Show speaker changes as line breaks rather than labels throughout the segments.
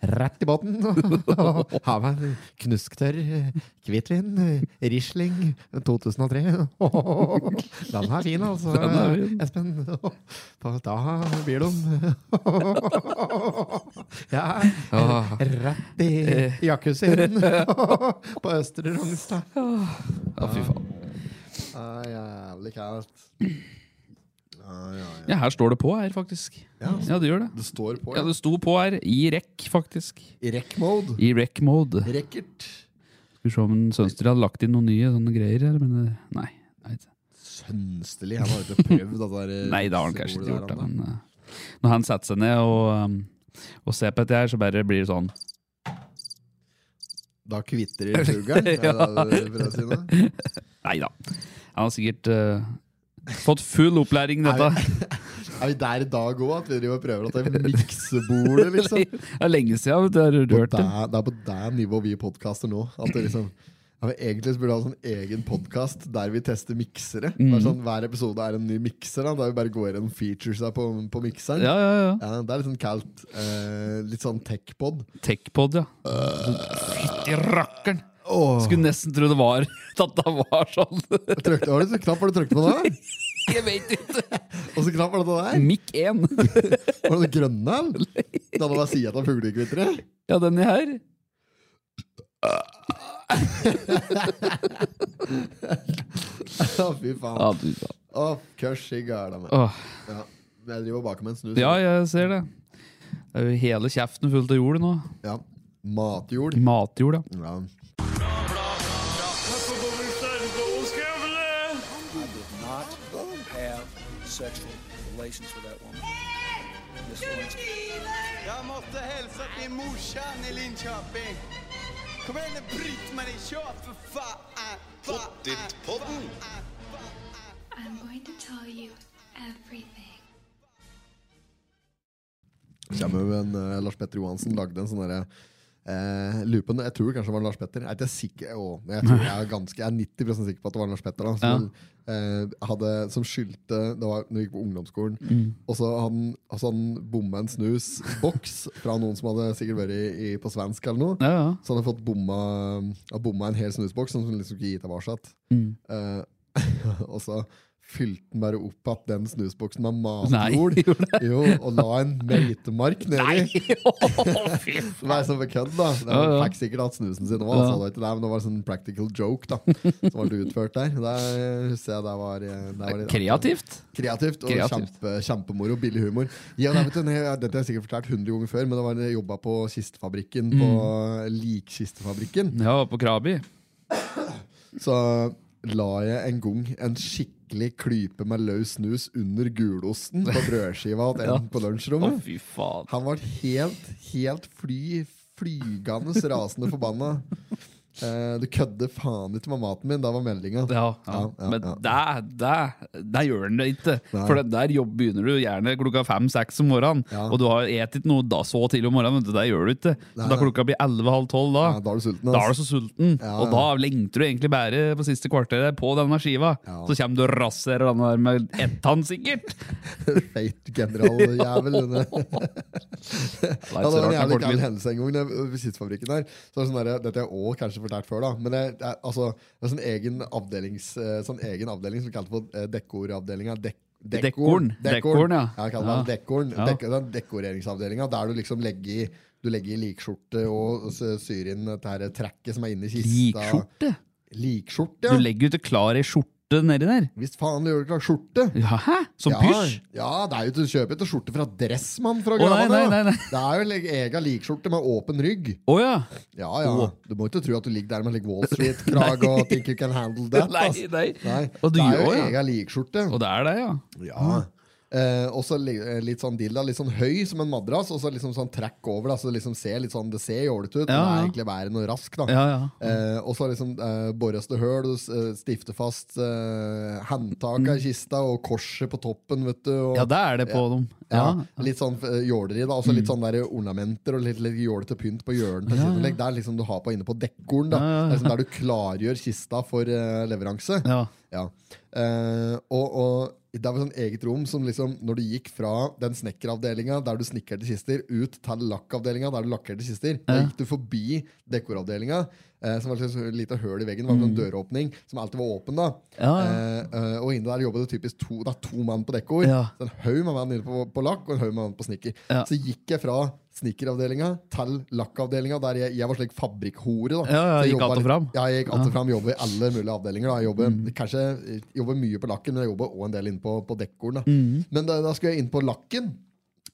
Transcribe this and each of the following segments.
Rett i båten. Ha meg en knusktørr eh, hvitvin. eh, Riesling 2003. Den er fin, altså.
Den er fin.
Espen. Da blir de Ja.
Ah.
Rett i
Eh.
jacuzzien på Østre Rognstad.
Ja, fy faen.
Ah, Jævlig kaldt. Ah, ja, ja.
Ja, her står det på her, faktisk.
Ja, s-
Ja, det gjør det.
det står på.
Ja,
Ja.
det sto på her. I rekk, faktisk.
I rekk-mode.
I rekk-mode.
Rekkert.
Skal vi se om Sønster hadde lagt inn noen nye sånne greier her, men eh, nei. Nei,
Sønsterlig. Han har jo ikke prøvd det der eh,
nei det har han kanskje ikke
symbolet
gjort.
der,
da, Men eh, når han setter seg ned og, eh, og ser på dette her, så bare blir det sånn.
Da kvitter det fuglen. Er det det du prøver å si nå?
Nei da. Han har sikkert eh, fått full opplæring i dette.
Er vi der i dag òg, at vi driver og prøver at det er miksebordet, liksom?
Det er lenge siden vet du har
På
du hørt det.
det, det er på det nivået vi podkaster nå. At det liksom ja, men Egentlig så burde vi ha en sånn egen podkast der vi tester miksere.
Mm.
Det er sånn, hver episode er en ny mikser, da, der vi bare går gjennom featuresa på, på mikseren.
Ja, ja, ja.
Ja, det er litt sånn kaldt. Eh, litt sånn tech-pod.
Techpod, ja. Fytti rakkeren!
Åh,
Skulle nesten tro det var at det var sånn.
jeg trykte- Hva var det så knapp var det du trykte på da?
Jeg vet ikke.
Og så knapp var det det der?
Mic 1.
Var det det grønne? eller? Det hadde vært sida av fuglekvitteret.
Ja, den er her.
Å, fy faen.
Ja, du, da.
Å, kørs i gæla meg.
Åh,
Ja. Jeg driver og baker med en snus.
ja, jeg ser det. Det er jo hele kjeften fullt av jord nå.
Ja. Matjord.
Matjord, ja.
Ja.
not have sexual relations with that woman. Miss Lewinsky.
Jeg måtte hilse til morsan i Linköping. Kom igjen, Britt-Marie, kjør for faen! Pottitpodden!
I'm going to tell you everything.
Kommer jo en eh, Lars Petter Johansen lagde en sånn derre eh, lurer på om det- Jeg tror kanskje det var Lars Petter. Jeg er ikke sikker å, men Jeg, tror jeg, er ganske, jeg er 90 sikker på at det var Lars Petter. Da, som, eh, hadde, som skyldte Det var når vi gikk på ungdomsskolen.
Mm.
Og så han, altså han bomma en snusboks fra noen som hadde sikkert vært i, i, på svensk eller noe.
Ja, ja.
Så han hadde fått bomma, hadde bomma en hel snusboks som han liksom ikke gitt tilbake.
Mm.
Eh, og så fylte han bare opp at den snusboksen med
Nei,
matjord.
gjorde
Jo, og la en meitemark nedi.
Å, fy f-
Nei, som var sånn kødd, da. Det
Ja,
var
ja.
fikk sikkert hatt snusen sin òg,
Ja.
men det var en sånn practical joke da som ble utført der. Der husker jeg det var, eh, det var litt
Kreativt.
Kreativt og
Kreativt.
Kjempe, kjempemoro. Billig humor. Ja, nei, vet du, nei, dette har jeg sikkert fortalt 100 ganger før, men det var da jeg jobba på kistefabrikken. På
Mm.
Likkistefabrikken.
Ja, på Krabi.
Så la jeg en gang en skikkelig klype med løs snus under gulosten på brødskiva til en på
Å,
lunsjrommet.
fy faen.
Han var helt, helt fly, flygende rasende forbanna. Eh, du kødder faen ikke med maten min. Da var meldinga.
Ja, ja.
Ja, ja,
Men
ja.
der, der, der gjør den det ikke.
Nei.
For det der jobb begynner du gjerne klokka fem-seks om morgenen.
Ja.
Og du har spist noe da så tidlig om morgenen, men det der gjør du ikke.
Nei,
Så da
nei.
klokka blir elleve-halv tolv da.
Ja, da er du sulten.
Da er
ass.
du så sulten,
Ja,
og da lengter du egentlig bare på siste kvarteret på denne skiva.
Ja.
Så kommer du og raserer den der med ett tann, sikkert.
Feit generaljævel. Ja, det var en jævlig gæren hendelse en gang da jeg var ved Sittfabrikken der. Så var det sånn der, Dette har jeg også kanskje fortalt før, da. Men det, det, er- altså, det er sånn egen, avdelings, eh, sånn egen avdeling som vi kalte for eh, dekoravdelinga. Dek
Dekorn. Dekorn, ja.
jeg kaller det
Ja.
dekorn.
Ja.
Dek den dekoreringsavdelinga der du liksom legger i du legger i likskjorte og s- syr inn dette her trekket som er inni kista.
Likskjorte?
Likskjorte,
Du
ja.
legger jo ikke klar ei skjorte nedi der.
Hvis faen du gjør det klart skjorte.
Ja, hæ? Som
ja,
pysj?
Ja, det er jo, du kjøper ikke skjorte fra Dressmann fra
Å, nei,
Gravane.
nei, nei, nei.
Det er jo en leg- egen likskjorte med åpen rygg.
Å ja.
Ja, ja.
Oh.
Du må ikke tro at du ligger der med like Wall Street-krage og think you can handle that.
Nei,
ass.
nei.
Nei,
Og du
det er jo
gjør, ja.
egen likskjorte.
Og det er det, ja.
Ja. Eh, og så li- eh, litt sånn dilla, litt sånn høy som en madrass, og så liksom sånn trekk over. Da, så det, liksom ser litt sånn, det ser jålete ut, men det
Ja,
er
ja.
egentlig bare noe rask. Da.
Ja, ja.
Eh, og så liksom eh, borres det høl, du s- eh, stifter
Mm.
fast eh, håndtaket i kista og korset på toppen, vet du. Og,
Ja, det er det på dem.
Ja,
Ja. Mm.
litt sånn eh, jåleri, da. Også litt sånn der ornamenter og litt, litt jålete pynt på hjørnet. til
Ja,
sitt
ja.
anlegg. Det er liksom du har på inne på dekkorden. da.
Ja, ja, ja.
Det er liksom der du klargjør kista for eh, leveranse.
Ja.
Ja. Eh, og, og det var sånn eget rom som liksom, når du gikk fra den snekkeravdelinga der du snekkerte kister, ut til lakkavdelinga der du lakkerte kister, da
Ja.
gikk du forbi dekoravdelinga, eh, som var liksom et lite høl i veggen, var en sånn døråpning som alltid var åpen. da.
Mm. Ja, ja.
Eh, eh, og inne der jobbet det typisk to, det er to mann på dekkord.
Ja.
Så En haug med mann inne på, på lakk og en haug med mann på snikker.
Ja.
Så gikk jeg fra snekkeravdelinga til lakkavdelinga, der jeg, jeg var slik fabrikkhore. da.
Ja, ja,
Så
gikk
jobbet
alt og
litt-
fram. Mm.
Ja, jeg gikk alltid fram, jobber i alle mulige avdelinger. Da. Jeg jobber, kanskje, eh, jobber mye på lakken, men jeg jobber også en del inne på, på dekkorden. Da.
Mm.
Men da, da skulle jeg inn på lakken,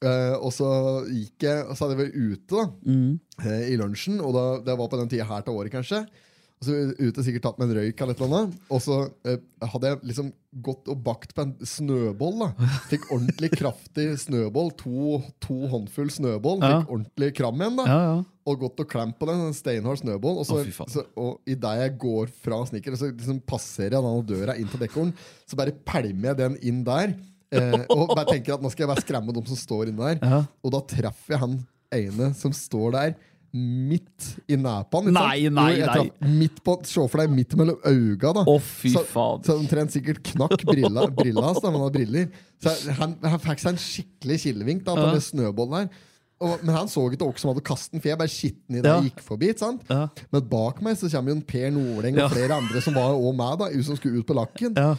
eh, og så gikk jeg, og så hadde jeg vært ute da,
Mm.
eh, i lunsjen, og da, det var på den tida her til året kanskje, og så ute sikkert tatt med en røyk eller et eller annet, og så eh, hadde jeg liksom gått og bakt på en snøboll da. Fikk ordentlig kraftig snøboll, to, to håndfull snøboll,
Ja.
fikk ordentlig kram igjen da
Ja, ja.
og gått og klemt på den, en steinhard snøball. Og, så,
Å, fy faen.
så, og idet jeg går fra snekkeren, så liksom passerer jeg den døra inn til dekkorden, så bare pælmer jeg den inn der. Eh, og bare tenker at nå skal jeg bare skremme dem som står inne der.
Ja.
Og da treffer jeg han ene som står der. Midt i nepa. ikke sant?
Nei, nei,
Jo, jeg
nei.
traff Midt på, Se for deg midt mellom auga. da
Å, fy
så,
faen.
så omtrent sikkert knakk brilla, brilla hans. da, Han hadde briller. Så han, han fikk seg en skikkelig kilevink da, på
Ja.
den snøbollen her. Og, men han så ikke hvem som hadde kastet den, for jeg bare skitten i det
Ja.
jeg gikk forbi. ikke sant?
Ja.
Men bak meg så kommer jo en Per Nordeng og
Ja.
flere andre som var også meg, da, som skulle ut på lakken.
Ja.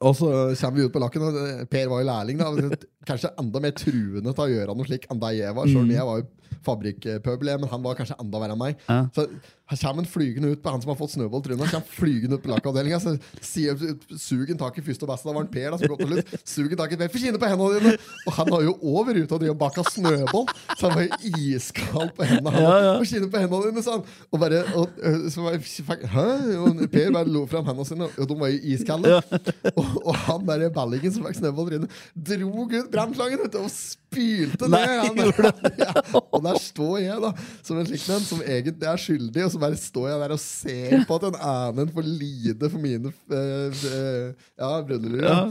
Og så kommer vi ut på lakken, og eh, Per var jo lærling. da, Kanskje enda mer truende til å gjøre noe slik enn det jeg var.
Mm.
Selv om jeg var jo fabrikkpøbel, jeg, men han var kanskje enda verre enn meg.
Ja.
Så her kommer han flygende ut på han som har fått snøball i trynet. Han kommer flygende ut på lakkavdelinga, så sier sugen tak i første beste. Da var han Per da, som kom til slutt. Sugen tak i Per, få kine på hendene dine! Og han var jo over ute og drev og baka snøball, så han var jo iskald på hendene. Han,
Ja, ja.
Få kine på hendene dine, sa han. Og bare, og, øh, så var jeg, fikk- Hæ? Og Per bare lo fram hendene sine, og de var jo iskalde. Og, og han der ballingen som fikk snøball i trynet, dro ut brannslangen vet du, og spylte ned.
Nei,
Han, ja. Og der står jeg, da, som en slik den som egentlig er skyldig, og så bare står jeg der og ser på at en annen får lide for mine eh, eh, ja, brødre. Ja.
Ja.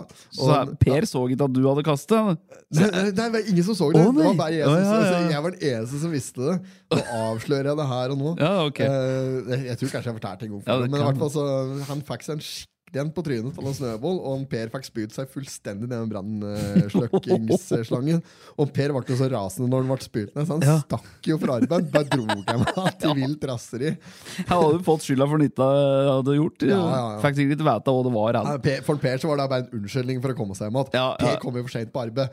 Ja.
Så Per så ikke at du hadde kastet?
Nei, eh, nei, det var ingen som så det.
Å,
det
nei.
var bare jeg, som,
Å, ja,
så-
ja.
så jeg var den eneste som visste det. Nå avslører jeg det her og nå.
Ja, ok.
Eh, jeg, jeg tror kanskje jeg fortalte en gang for
Ja, det
det, men i
kan.
hvert fall så han fikk seg en skikkelig en på trynet av en snøball, og han Per fikk spydd seg fullstendig ned med brannslukkingslangen. Og Per ble jo så rasende når han ble spydd ned, så han
Ja.
stakk jo fra arbeid. Bare dro jeg meg til vilt raseri.
Jeg hadde fått skylda for nytta jeg hadde gjort.
Ja, ja, ja.
Fikk sikkert ikke vite hva det var.
Ja,
Han.
Per, for Per så var det bare en unnskyldning for å komme seg hjem igjen.
Ja, ja.
Per kom jo for seint på arbeid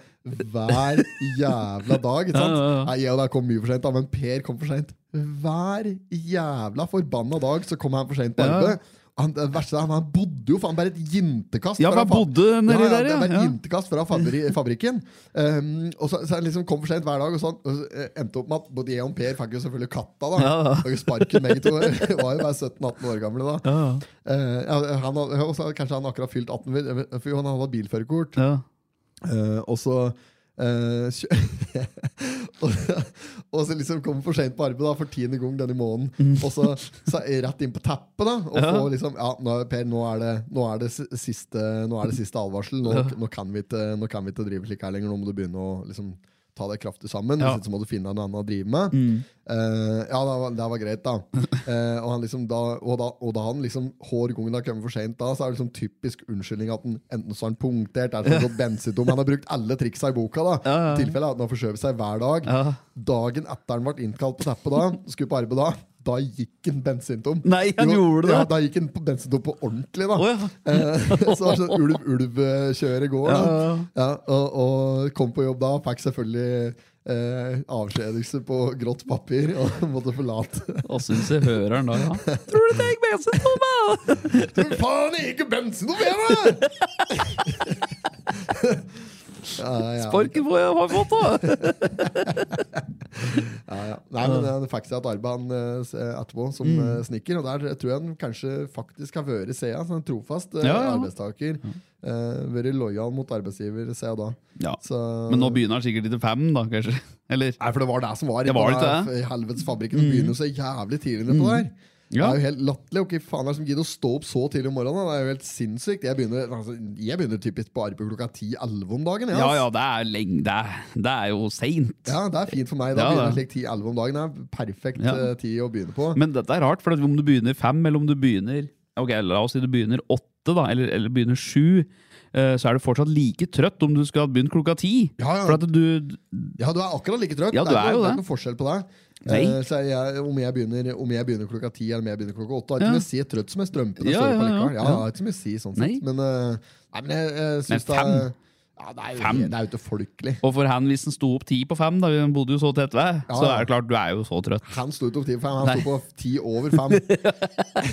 hver jævla dag. ikke sant?
Ja, ja, ja.
Nei, jeg og deg kom mye for sent, da, men Per kom for seint hver jævla forbanna dag. så kom han for sent på
Ja.
arbeid. Han, det verste er, han bodde jo faen bare et jintekast
Ja, for
fra
han
fab-
bodde nedi
ja, ja,
der, ja.
Det var
Ja.
et jintekast fra fabri fabrikken. Um, og så, så han liksom kom for sent hver dag, og så og så, eh, endte opp med at både jeg og Per fikk jo selvfølgelig katta. da.
Ja, ja.
Fikk jo Sparken begge to. Var jo bare 17-18 år gamle da.
Ja,
Eh, ja, han, hadde- og så hadde- kanskje han akkurat fylt 18, vel, eh, for han hadde bilførerkort.
ja.
Eh, og så eh, kjø- og, og så liksom kom for sent på arbeid da, for tiende gang denne måneden. Og så, så er jeg rett inn på teppet. da Og
Mm. Ja.
få liksom, ja, nå, Per, nå er, det, nå, er det si- siste, nå er det siste advarsel. Nå, nå, kan vi ikke, nå kan vi ikke drive slik her lenger. Nå må du begynne å liksom ta deg kraftig sammen.
Ja. Mm.
Hvis ikke så må du finne noe annet å drive med. Eh, ja, det var, det var greit, da. Eh, og, han liksom da, og, da og da han liksom hver gang det har kommet for seint, så er det liksom typisk unnskyldning at han enten så har han punktert, eller så har han gått bensintom. Han har brukt alle triksa i boka. da
Ja, ja.
I tilfelle at han har forskjøvet seg hver dag.
Ja.
Dagen etter han ble innkalt på teppet, da skulle på arbeid da, da gikk han bensintom.
Nei, han gjorde det.
Ja, da gikk han på bensintom på ordentlig, da.
Å, ja.
Eh, så var det sånn ulv-ulv-kjøret går. da.
Ja, ja,
Ja, og, og kom på jobb da, fikk selvfølgelig eh, avskjedelse på grått papir og måtte forlate.
Hva syns jeg hører han da? Ja. Tror du det gikk med seg, Thomas?
Men faen, jeg gikk jo bensin noe mer, da! ja, ja,
Sparken får jeg har fått, da!
ja, ja. Nei, men Han fikk seg et arbeid han, eh, s- etterpå som
Mm.
eh, snekker, og der tror jeg han kanskje faktisk har vært siden. Så en trofast eh,
Ja, ja.
arbeidstaker. Eh, vært lojal mot arbeidsgiver siden da.
Ja.
Så,
Men nå begynner han sikkert i til fem, da, kanskje? Eller?
Nei, for det var det som var.
Det var
Den
det, Mm.
der f- Helvetes fabrikken som begynner jo så jævlig tidlig på der.
Ja.
Det er jo helt latterlig. Og ikke faen er det som gidder å stå opp så tidlig om morgenen. Det er jo helt sinnssykt. Jeg begynner, altså, jeg begynner typisk på arbeid på klokka 10-11 om dagen. jeg,
Ja,
ass.
ja, det er lenge. Det er, det er jo seint.
Ja, det er fint for meg. Da
Ja,
begynner
det.
slik 10-11 om dagen. Det er perfekt
Ja.
eh, tid å begynne på.
Men dette er rart, for at om du begynner fem, eller om du begynner Ok, la oss si du begynner åtte, da, eller, eller begynner sju, eh, så er du fortsatt like trøtt om du skulle ha begynt klokka ti.
Ja, ja.
For at du
Ja, du er akkurat like trøtt.
Ja, du
det, er
er
ikke,
jo
det er
det.
ikke noen forskjell på deg.
Nei.
Eh, så jeg, om, jeg begynner, om jeg begynner klokka ti eller om jeg begynner klokka åtte, har ikke
Ja.
noe å si trøtt som er strømpen.
Ja,
Ja, ja,
ja, ja.
ja. det har ikke så mye å si, sånn sett.
Nei.
Men, eh, nei, men jeg, jeg syns
Men
det er
fem?
ja, det er jo
Fem?
helt- det er jo ikke folkelig.
Og for han, hvis han sto opp ti på fem, da vi bodde jo så tett ved,
Ja,
så
ja.
er det klart, du er jo så trøtt.
Han sto ikke på ti på fem, han
Nei.
sto på ti over fem.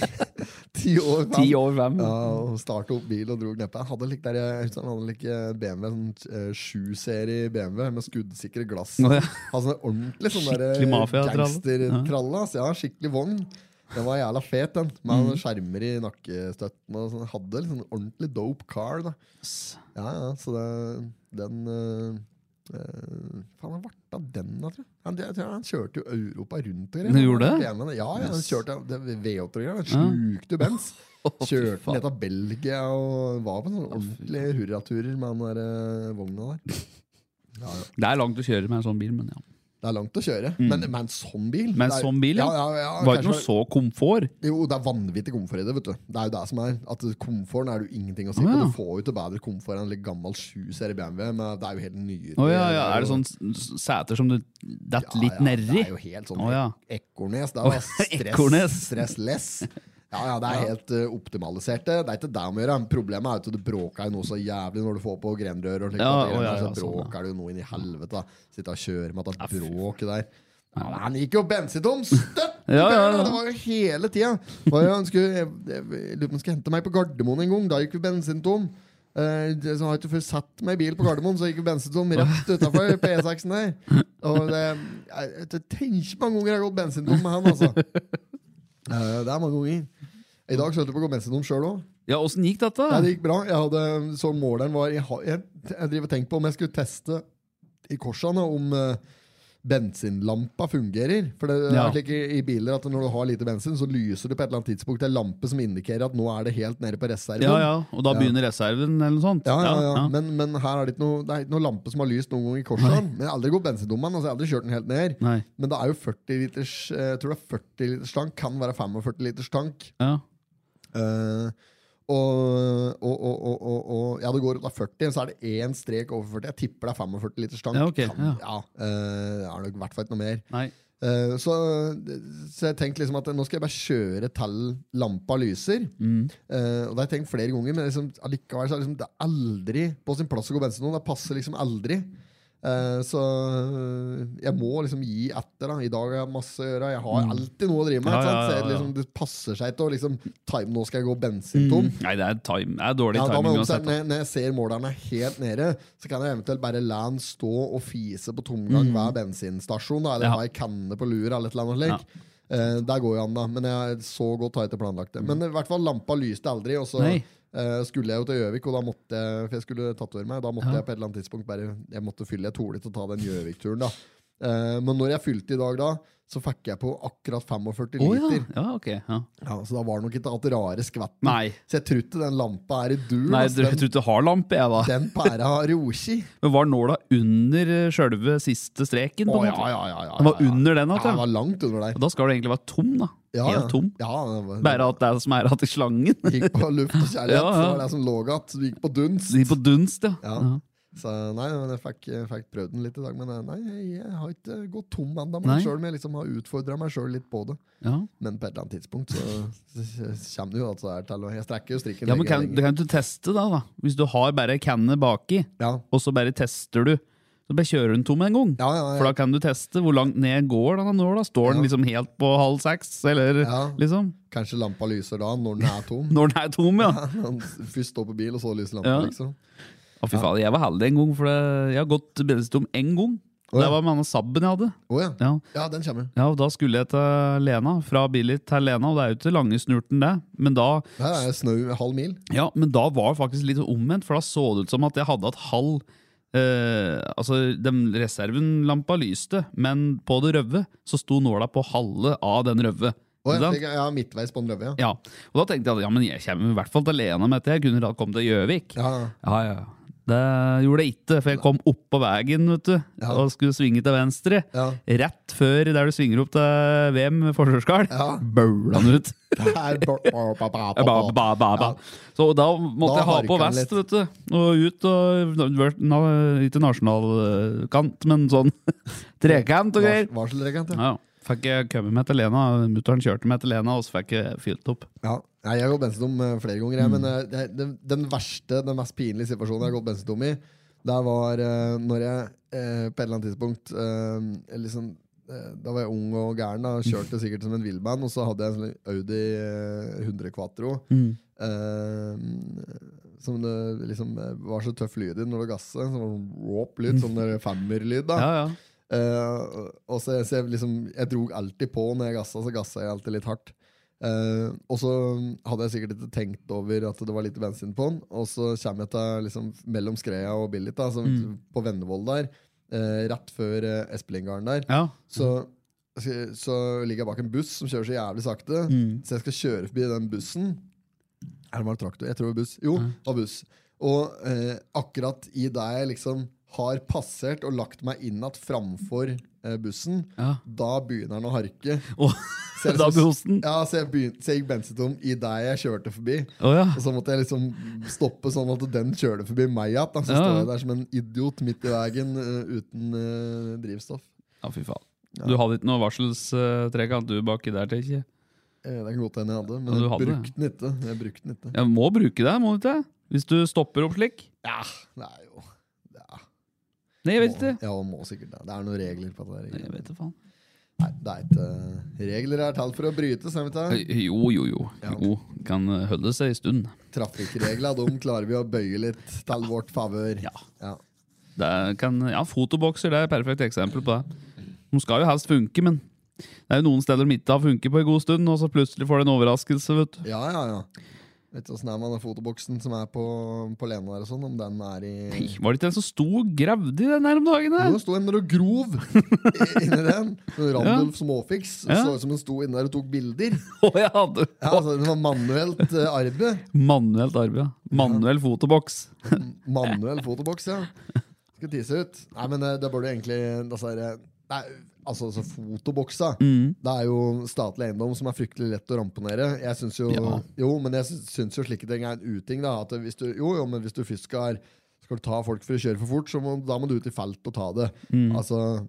ti over fem.
Ti over fem.
Ja, og starta opp bil og dro neppe. Han hadde lik, der, jeg husker han hadde lik eh, BMW, sånn eh, 7-serie BMW med skuddsikre glass.
Å, ja.
Han sånn ordentlig sånn der,
Skikkelig mafia-tralle.
gangstertralle. ass. Ja, skikkelig vogn. Den var jævla fet, den. Med
Mhm.
skjermer i nakkestøtten. Og sånn. Hadde liksom en ordentlig dope car. da Ja, ja, så det, den eh, eh, Faen, han varta den, da, tror jeg. Han, jeg tror han kjørte jo Europa rundt og greier.
Han gjorde det?
BMW, Ja, ja, han
Yes.
kjørte det var V8 og greier. Han slukte jo bens. Kjørte
faen.
ned til Belgia og var på sånne ordentlige hurraturer med den der eh, vogna der.
Det er langt å kjøre med en sånn bil, men ja.
Det er langt å kjøre, men med en sånn bil
Med en
det er-
Mm. sånn bil,
ja,
ja.
ja, ja,
Var ikke
kanskje-
noe sånn- så komfort.
Jo, det er vanvittig komfort i det. vet du Det er jo det som er At komforten er det jo ingenting å si på.
Å, ja.
Du får jo ikke bedre komfort enn en litt gammel 7-serie BMW, men det er jo helt nyere.
Å ja, ja. Er det sånn s- sæter som du detter
Ja,
litt
ja,
nedi?
Det er jo helt sånn
Å, ja.
Ekornes. Det er jo stress,
Ekornes.
stressless. Ja, ja, det er helt eh, optimalisert. Det Det er ikke det om å gjøre. Problemet er jo at du bråker jo noe så jævlig når du får på grenrør. Og slik,
Ja,
at det
å, ja,
greiene
ja,
der, så
sånn, ja.
bråker det jo noe inn i helvete. da. Sitte og kjøre med at
Ja,
det
fy
er bråk der. Ja, men han gikk jo bensintom støtt!
Ja, ja, ja.
Det var jo hele tida. Det var jo- Han skulle, jeg, jeg, jeg lurer på om han skulle hente meg på Gardermoen en gang. Da gikk vi bensintom. Eh, det- så har jeg ikke før satt meg i bil på Gardermoen, så gikk vi bensintom rett utafor P6-en der. Og det, jeg, jeg, jeg tenker mange ganger jeg har gått bensintom med han, altså. Eh, det er mange ganger. I dag så holdt jeg på å gå bensintom sjøl òg.
Ja, åssen gikk dette?
Nei, det gikk bra. Jeg hadde, så måleren var Jeg, har- jeg, jeg driver og tenker på om jeg skulle teste i korsene om eh, bensinlampa fungerer. For det
Ja.
er slik i, i biler at når du har lite bensin, så lyser det på et eller annet tidspunkt en lampe som indikerer at nå er det helt nede på reserven.
Ja, ja. Og da
Ja.
begynner reserven, eller noe sånt?
Ja, ja, ja. Men, men her er det ikke noe, det er ikke noe lampe som har lyst noen gang i korsene. Men jeg har aldri gått bensindommen, altså jeg har aldri kjørt den helt ned.
Nei.
Men det er jo 40 liters, eh, jeg tror det er 40 liters tank, kan være 45 liters tank.
Ja.
Eh, og, og, og, og, og, og Ja, det går ut av 40, så er det én strek over 40. Jeg tipper det er 45 liters tank.
Ja, ok, ja.
eh, er nok i hvert fall ikke noe mer.
Nei.
Eh, så, så jeg tenkte liksom at nå skal jeg bare kjøre til lampa lyser.
Mm.
Eh, og det har jeg tenkt flere ganger, men liksom, allikevel så er det, liksom, det er aldri på sin plass å gå bensin nå. Det passer liksom aldri. Eh, så jeg må liksom gi etter. da I dag har jeg masse å gjøre. Jeg har alltid noe å drive med.
Mm. Ja,
ikke sant?
ja, ja,
Så jeg, liksom, det passer seg ikke å liksom, time nå skal jeg gå bensintom.
Nei, det er, time. det er dårlig
Ja, da må
timing
jeg omsette,
uansett.
når, jeg- når jeg ser målerne helt nede, så kan jeg eventuelt bare la den stå og fise på tomgang hver bensinstasjon. Da, eller
Mm. Ja.
ha ei kanne på lur eller et eller annet. slik. Eh, der går jo an, da. Men jeg så godt har jeg ikke planlagt det. Men i hvert fall, lampa lyste aldri. Og så
Mm. Nei.
eh, skulle jeg jo til Gjøvik, og da måtte jeg, for jeg skulle tatovere meg. Da måtte jeg på et eller annet tidspunkt bare Jeg måtte fylle et hole til å ta den Gjøvik-turen, da. Eh, men når jeg fylte i dag, da, så fikk jeg på akkurat 45
Å ja.
liter.
ja, ok. Ja.
Ja, så da var det nok ikke alt rare skvetten.
Nei.
Så jeg tror ikke den lampa er i dur.
Nei,
ass.
du, jeg
Den-
tror ikke du har lampe, jeg, da.
den pæra har roki.
Men var nåla under eh, sjølve siste streken? på en måte? Den var under den, at
Ja,
ja.
den var langt under der.
Og Da skal du egentlig være tom, da.
Ja, ja.
Helt tom.
Ja, den var-
Bare at det er som er at i slangen.
Gikk på luft og kjærlighet,
Ja, ja.
så var det som lå igjen. så Du gikk på dunst.
De på dunst, ja.
Ja.
Ja.
Så nei, men jeg fikk, jeg fikk prøvd den litt i dag, men eh, nei, jeg har ikke gått tom ennå.
Nei.
Selv om jeg liksom har utfordra meg sjøl litt på det.
Ja.
Men på et eller annet tidspunkt så, så kommer det jo altså her til å Jeg strekker jo strikken
ja, men
lenger og
kan, det
lenger.
kan du teste, da, da. Hvis du har bare canne baki,
Ja.
og så bare tester du. Så bare kjører du den tom en gang.
Ja, ja, ja.
For da kan du teste hvor langt ned går den nåla. Står den
Ja.
liksom helt på halv seks, eller
Ja.
liksom?
Kanskje lampa lyser da, når den er tom.
Når den er tom, ja.
Først stå på bil, og så lyser lampa,
Ja.
liksom.
Å, fy faen, jeg var heldig en gang, for det, jeg har gått bensinstom én gang.
Å, ja.
Det var med denne sabben jeg hadde.
Å ja.
Ja.
Ja, den kommer.
Ja, og Da skulle jeg til Lena, fra Billy til Lena, og det er jo ikke lange snurten, det. Men da,
Her er det snau halv mil.
ja, men da var det faktisk litt omvendt, for da så det ut som at jeg hadde hatt halv eh, Altså, den reservenlampa lyste, men på det røve så sto nåla på halve av den røve.
Og jeg,
Ikke sant?
tenker, ja, midtveis på en løve, ja.
Ja, og da tenkte jeg at ja, men jeg kommer i hvert fall til alene med dette. Jeg kunne da komme til Gjøvik.
ja.
Ja, ja. Det gjorde jeg ikke, for jeg kom oppå veien vet du,
Ja.
og skulle svinge til venstre.
Ja.
Rett før der du svinger opp til VM forsvarsgard,
Ja.
baula han ut.
Det er ba- ba- ba- ba-
Eh, Ba, ba, ba, ba, ba. Så da
Da
måtte jeg ha på
harka han
vest,
litt.
vet du. Og ut og vært na, Ikke nasjonalkant, men sånn trekant og greier.
Vars- Varselregent, ja.
Ja, fikk jeg kommet med til Lena. Mutter'n kjørte meg til Lena, og så fikk jeg fylt opp.
ja. Nei, Jeg har gått bensinom eh, flere ganger, jeg, men eh, det, den, den verste, den mest pinlige situasjonen jeg har gått bensinom i, det var eh, når jeg eh, på et eller annet tidspunkt eh, liksom, eh, Da var jeg ung og gæren, da, kjørte sikkert som en villmann, og så hadde jeg en sånn Audi eh, 100 Quatro. eh, som det liksom eh, var så tøff lyd i når det gasset. Som var sånn råp lyd, sånn der femmerlyd. da.
Ja, ja.
Eh, og så, så jeg, liksom, jeg drog alltid på når jeg gassa, så gassa jeg alltid litt hardt. Eh, og så hadde jeg sikkert ikke tenkt over at det var litt bensin på den. Og så kommer jeg til liksom, mellom Skreia og Billit, da, som, på Vennevoll der, eh, rett før uh, Espelinggarden der.
ja.
Så, så, så ligger jeg bak en buss som kjører så jævlig sakte.
Mm.
Så jeg skal kjøre forbi den bussen. Eller var det traktor? Jeg tror det var buss. Jo, det var buss. Og eh, akkurat i det jeg liksom har passert og lagt meg inn igjen framfor eh, bussen,
Ja.
da begynner den å harke.
Og
Så jeg
da
liksom-
ble hosten.
Ja, så jeg, begynte, så jeg gikk bensintom i det jeg kjørte forbi.
Å ja.
Og så måtte jeg liksom stoppe sånn at den kjørte forbi meg igjen. da. Så
Ja.
står jeg der som en idiot midt i veien eh, uten eh, drivstoff.
Ja, fy faen. Du hadde ikke noe varselstrekant du baki der til, ikke?
Eh, Det kan godt hende jeg hadde,
Ja,
men
du
jeg
hadde,
brukte den ikke. Jeg brukte den ikke.
Jeg må bruke det, må du ikke? Hvis du stopper opp slik.
Ja, det er jo ja,
Nei, jeg
må,
vet ikke.
ja, må sikkert det. Det er noen regler på det.
Nei, jeg
der.
vet ikke, faen.
Nei, det er ikke eh, Regler er til for å brytes. er vi ikke det?
Eh, Jo, jo, jo. Jo, kan eh, holde seg en stund.
Trafikkregler de klarer vi å bøye litt til vårt favør.
Ja.
Ja.
Det er- kan, ja, fotobokser det er et perfekt eksempel på det. De skal jo helst funke, men det er jo noen steder de ikke har funket på en god stund, og så plutselig får du en overraskelse, vet du.
Ja, ja, ja. Vet du åssen det er med den fotoboksen som er på, på Lena der og sånn? Om den er i
Nei, Var det ikke en som sto og gravde i den her om dagen?
Jo,
Der?
det sto en der og grov i- inni den. Sånn Randulf Småfiks.
Ja.
Så ut som hun sto inni der og tok bilder.
Å, jeg hadde
Ja, altså, det var manuelt eh, arbeid.
Manuelt arbeid. ja. Manuell fotoboks.
Manuell fotoboks, ja. Skal tise ut. Nei, men eh, det burde egentlig altså, er det- nei, altså, altså, fotoboksa Det er jo statlig eiendom som er fryktelig lett å ramponere. Jeg syns jo,
Ja.
jo Men jeg syns- syns jo slike ting er en uting. Da, at hvis du, jo, jo, men hvis du først skal, skal du ta folk for å kjøre for fort, så må, da må du ut i felt og ta det. Altså,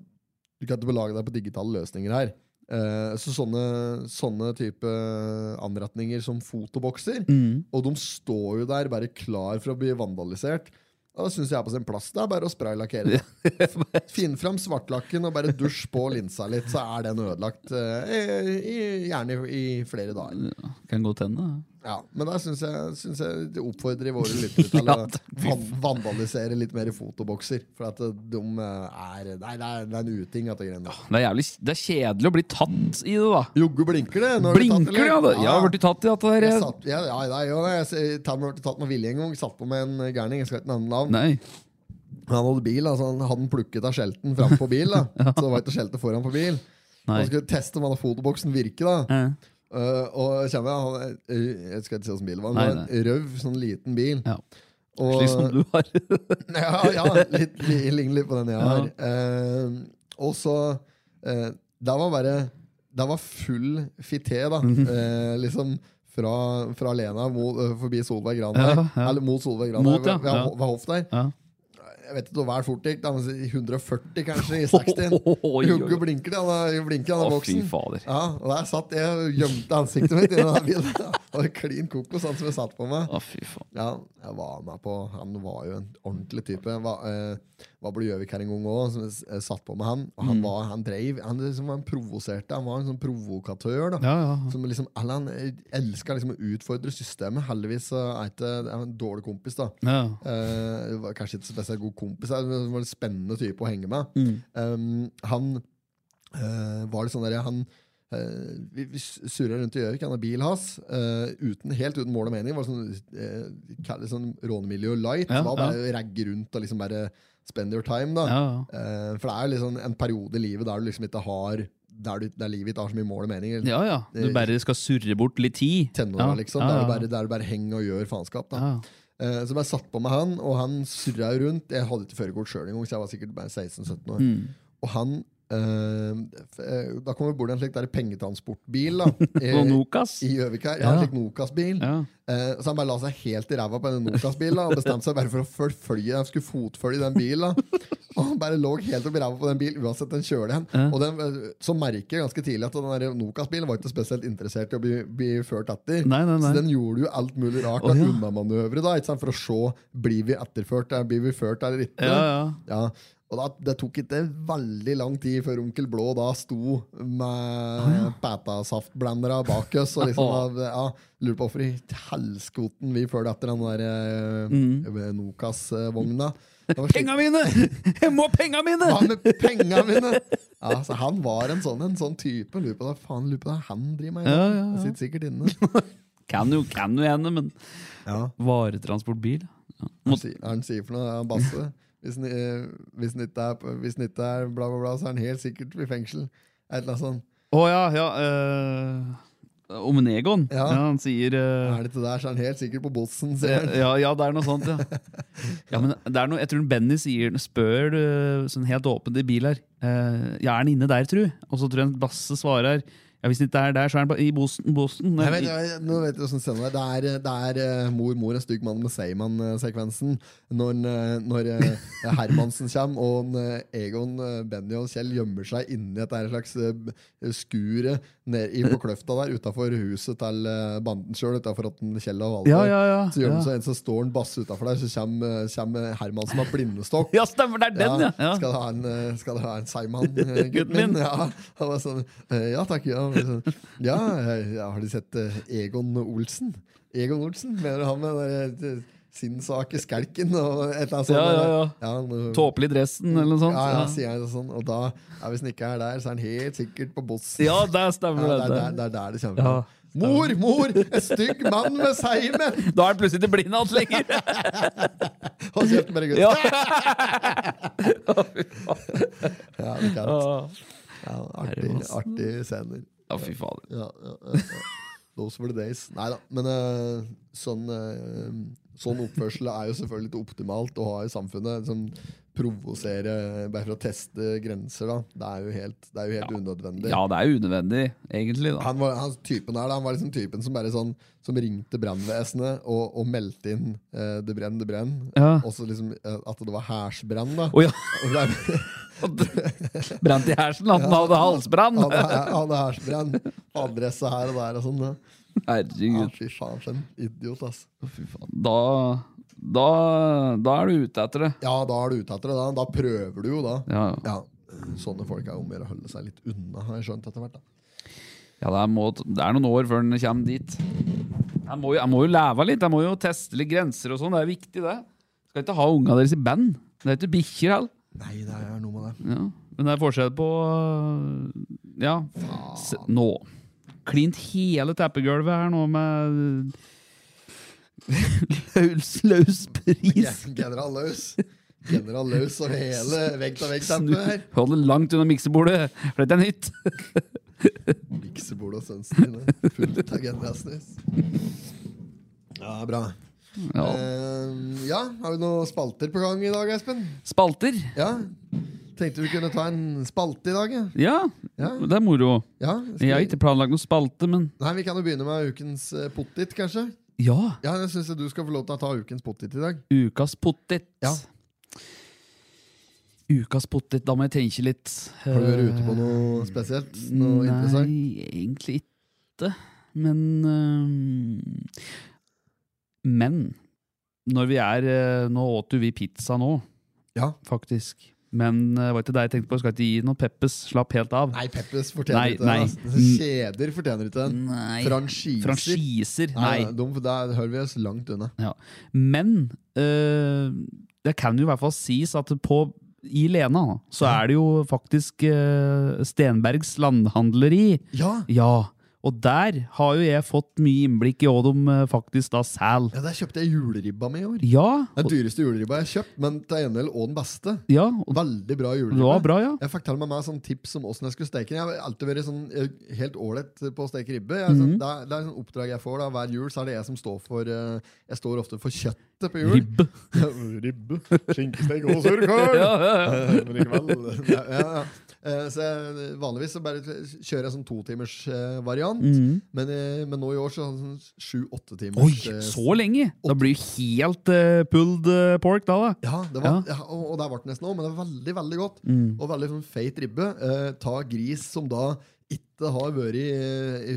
du kan ikke belage deg på digitale løsninger her. Eh, så sånne, sånne type eh, anretninger som fotobokser og de står jo der bare klar for å bli vandalisert. Og Da syns jeg er på sin plass. Det er bare å spraylakkere. det. Finn fram svartlakken og bare dusj på linsa litt, så er den ødelagt. eh, i, gjerne i, i flere dager.
Ja, kan godt hende. ja.
Ja, Men da syns jeg, synes jeg det oppfordrer våre lyttere til
Ja,
å van vandalisere litt mer i fotobokser. For at de eh, er Nei, det er, det er en uting, dette greiene.
Det er, jævlig, det er kjedelig å bli tatt i det, da.
Jogge blinker det! Nå har du tatt
Blinker det, ja! da.
eller? Ah.
Jeg har blitt tatt i at det
Jeg
der.
satt, ja, ja, ja, ja, jeg s- tatt meg- tatt med vilje en gang. Satt på med en eh, gærning. Jeg skal ikke nevne navn.
Nei.
Han hadde bil, altså han hadde den plukket av skjelten fram på bil. da Så det var ikke skjeltet foran på bil.
Nei.
Han skulle teste om han hadde fotoboksen virke. da
Ja.
Eh, Og kommer jeg, han, eh, jeg skal ikke si hvordan bilen var,
Nei,
men det var en røv, sånn liten bil.
Ja.
Og,
Slik som du har.
ja, ja, litt, li- ligner litt på den jeg har. Eh, og så eh, Det var bare Det var full fité, da.
Mhm.
Eh, liksom fra, fra Lena mot, eh, forbi Solveig Gran der.
Ja, ja.
Eller mot Solveig Gran
Mot,
der,
ja,
ved, ved,
ja.
ved hoff der
Ja.
jeg vet ikke hva er fort gikk, da, men si 140 kanskje i 60.
Oi, oi, oi.
Jogge blinker det, han blinker han
Å,
av
fy
boksen.
fader.
Ja, og der satt jeg og gjemte ansiktet mitt i den der bilen. da. Og klin kokos han som jeg satt på meg.
Å, fy faen.
Ja, jeg var med på, Han var jo en ordentlig type. Jeg Var, eh, var på Gjøvik her en gang òg, som jeg s- eh, satt på med han. Og han var, han dreiv, han liksom var en provoserte. Han var en sånn provokatør. da.
Ja, ja.
Som liksom, eller han elska liksom å utfordre systemet. Heldigvis så er ikke han er en dårlig kompis, da.
ja.
Eh, var kanskje ikke så spesielt god kompis, men han var en spennende type å henge med.
Mm.
Eh, han eh, var litt sånn der Han eh, vi, vi surra rundt i Gjøvik, han har bil hans, eh, uten, helt uten mål og mening. Var sånn, eh, kall det sånn rånemiljø light.
Ja,
var bare å ragge rundt og liksom bare spend your time, da.
Ja, ja.
Eh, for det er jo liksom en periode i livet der du liksom ikke har der, du, der livet ditt har så mye mål og meninger.
Ja, ja. Du bare skal surre bort litt tid.
Tenåra,
ja.
liksom.
Ja,
Der
ja.
du bare, der du bare henger og gjør faenskap. da.
Ja.
Eh, Så jeg satt på med han, og han surra jo rundt. Jeg hadde ikke førerkort sjøl engang, så jeg var sikkert bare 16-17 år.
Mm.
Og han eh, f- eh, Da kom vi bort til en slik der pengetransportbil da, i,
Og Nokas.
i Gjøvik her. Ja, en
Ja.
slik Nokas-bil.
Ja.
Eh, så han bare la seg helt i ræva på den Nokas-bilen da, og bestemte seg bare for å forfølge Han skulle fotfølge den bilen. da. Og han bare lå helt oppi ræva på den bilen uansett den kjører hen. Og den, eh, så merker jeg ganske tidlig at den der Nokas-bilen var ikke spesielt interessert i å bli, bli ført etter.
Nei, nei, nei.
Så den gjorde jo alt mulig rart
Å,
av
ja.
unnamanøvre da, ikke sant? for å se blir vi etterført eh, blir vi ført eller ikke.
Ja, ja.
Ja, Og da, Det tok ikke veldig lang tid før onkel Blå da sto med pætasaftblandere bak oss. og liksom, ja, Lurer på hvorfor i helskoten vi følger etter den der eh, Nokas-vogna. Det var slik-
Mm. Penga mine! Jeg må ha penga mine!
Hva med penga mine?! Ja, så Han var en sånn, en sånn type. Lurer på hva faen lurer på hva han driver med. i dag.
Ja, ja, ja.
Han sitter sikkert inne.
Kan jo, kan jo hende, men
Ja.
Varetransportbil? Ja.
Hva sier hva han sier for noe, han Basse? Hvis han, eh, hvis han ikke er, på- hvis han ikke er bla, bla, bla, så er han helt sikkert i fengsel. Et eller annet sånn. sånt.
Å ja, ja eh, Om Negon? Ja.
Ja.
han sier eh,
Er det ikke der, så er han helt sikkert på botsen, sier han.
ja, ja, det er noe sånt, ja. ja men det er noe, jeg tror Benny sier, spør eh, sånn helt åpent i bil her eh, Ja, er han inne der, tru? Og så tror jeg Basse svarer Ja, hvis han ikke er der, så er han på, i Boston. Boston
Nei, vet, jeg, nå vet du hvordan scenen er. Det er, det er eh, mor, mor, en stygg mann med Seiman-sekvensen. Når, en, eh, når eh, Hermansen kommer, og en, eh, Egon, eh, Benny og Kjell gjemmer seg inni et der slags eh, b- skure ned i, på kløfta der utafor huset til eh, banden sjøl, utafor Kjell og Valborg.
Ja, ja, ja,
Så gjør
ja.
de seg en, så står han basse utafor der, så kommer, eh, kommer Hermansen med blindestokk.
ja, stemmer, det er den, ja! ja.
Skal du ha en, eh, skal du ha en Seiman, eh, gutten
min.
min? Ja, han var sånn, eh, ja takk. Ja, Sånn, ja, eh, ja, har du sett eh, Egon Olsen? Egon Olsen, mener du han med den der, eh, sinnssake skelken og et eller annet sånt?
Ja, ja, ja.
nå-
Tåpelig i dressen, eller noe sånt.
Ja, ja,
Ja,
sier jeg sånn. Og da, ja, hvis han ikke er der, så er han helt sikkert på bossen.
ja det
Ja,
stemmer,
det,
det.
er der, det er der det kommer fra.
Ja.
Mor, mor! En stygg mann med seimen!
Da er han plutselig ikke blind alt lenger!
Hold kjeft med deg, gutt.
Ja.
Ja, det kan.
ja,
ja, artig, artig scener.
fy fader.
Ja, ja, ja, ja. Those were the days. Nei da. Men eh, sånn, eh, sånn oppførsel er jo selvfølgelig ikke optimalt å ha i samfunnet. Som provosere bare for å teste grenser. da Det er jo helt, det er jo helt unødvendig.
Ja, det er unødvendig, egentlig. da
Han var, han, typen her, da, han var liksom typen som bare sånn Som ringte brannvesenet og, og meldte inn eh, 'det brenn, det brenn'.
Ja.
Og så liksom eh, at det var hærsbrann. da.
Å ja,
Og ble-
Brant i hersen, at han hadde halsbrann!
Han hadde- han hadde hærsbrann. Adresse her og der og sånn. da. Ja,
Herregud.
fy faen, for en idiot, ass.
Fy faen. Da, da, da er du ute etter det.
Ja, da er du ute etter det. Da, da prøver du jo, da.
Ja,
Ja. Sånne folk er jo mer å holde seg litt unna, har jeg skjønt etter hvert. da.
ja det, er må, det er noen år før den kommer dit. Jeg må, jo- jeg må jo leve litt, jeg må jo teste litt grenser og sånn. Det er viktig, det. Skal ikke ha unga deres i band. Det er ikke bikkjer heller.
Nei, det er noe med det.
Ja. Men det er forskjell på øh, Ja, S nå. Klint hele teppegulvet her nå med løs, løs
Ja,
pris.
General Løs. General Løs og hele
Snu,
vegg-til-vegg-teppet her.
hold det langt unna miksebordet, for dette er nytt.
Miksebordet og sønnen dine. Fullt av General Snus. Ja, bra.
Ja.
Eh, ja, har du noen spalter på gang i dag, Espen?
Spalter.
Ja. Tenkte vi kunne ta en spalte i dag, ja.
Ja,
Ja.
det er moro.
ja skal
Jeg har
vi-
ikke planlagt noen spalte, men
Nei, Vi kan jo begynne med ukens eh, pottit, kanskje.
ja.
Ja, jeg syns du skal få lov til å ta ukens pottit i dag.
Ukas pottit.
Ja.
Ukas pottit, da må jeg tenke litt. Eh,
Har du vært ute på noe spesielt? Noe interessant?
Nei, egentlig ikke. Men øhm, Men når vi er øh, Nå åt jo vi pizza nå,
Ja.
faktisk. Men øh, var ikke det jeg tenkte på. Skal ikke gi noe Peppes. Slapp helt av.
Nei, Peppes fortjener
Nei,
ikke
nei.
den. altså. Kjeder fortjener ikke den.
Mm. Nei.
Franchiser.
Franchiser.
Nei,
Nei.
nei, de, der hører vi oss langt unna.
Ja. Men øh, det kan jo i hvert fall sies at på i Lena så er det jo faktisk øh, Stenbergs eh, landhandleri.
Ja,
Ja, Og der har jo jeg fått mye innblikk i hva de eh, faktisk da selger.
Ja, Der kjøpte jeg juleribba mi i år.
Ja,
Den
og,
dyreste juleribba jeg har kjøpt, men til en del også den beste.
ja, og
Veldig bra
det
juleribbe.
var bra, ja.
Jeg fikk til og med meg sånn tips om åssen jeg skulle steke den. Jeg har alltid vært sånn, eh, helt ålreit på å steke ribbe. Jeg, er
Mhm.
sånn, det, er, det er sånn oppdrag jeg får da. hver jul, så er det jeg som står for eh, Jeg står ofte for kjøttet på jul.
Ribbe.
Ribbe. Skinkestek og surkål!
Ja, ja, ja.
Eh, Men likevel. Ja, ja, ja. Eh, Så jeg, vanligvis så bare kjører jeg sånn totimers eh, variant, men, eh, men nå i år så er det sånn sju-åtte timers.
Mm. Oi,
eh,
så lenge! Da blir det helt eh, pulled eh, pork, da. da.
Ja, det var, ja. og, og der ble det nesten òg, men det var veldig veldig godt.
Mm.
Og veldig sånn feit ribbe. Eh, ta gris som da ikke har vært i, i,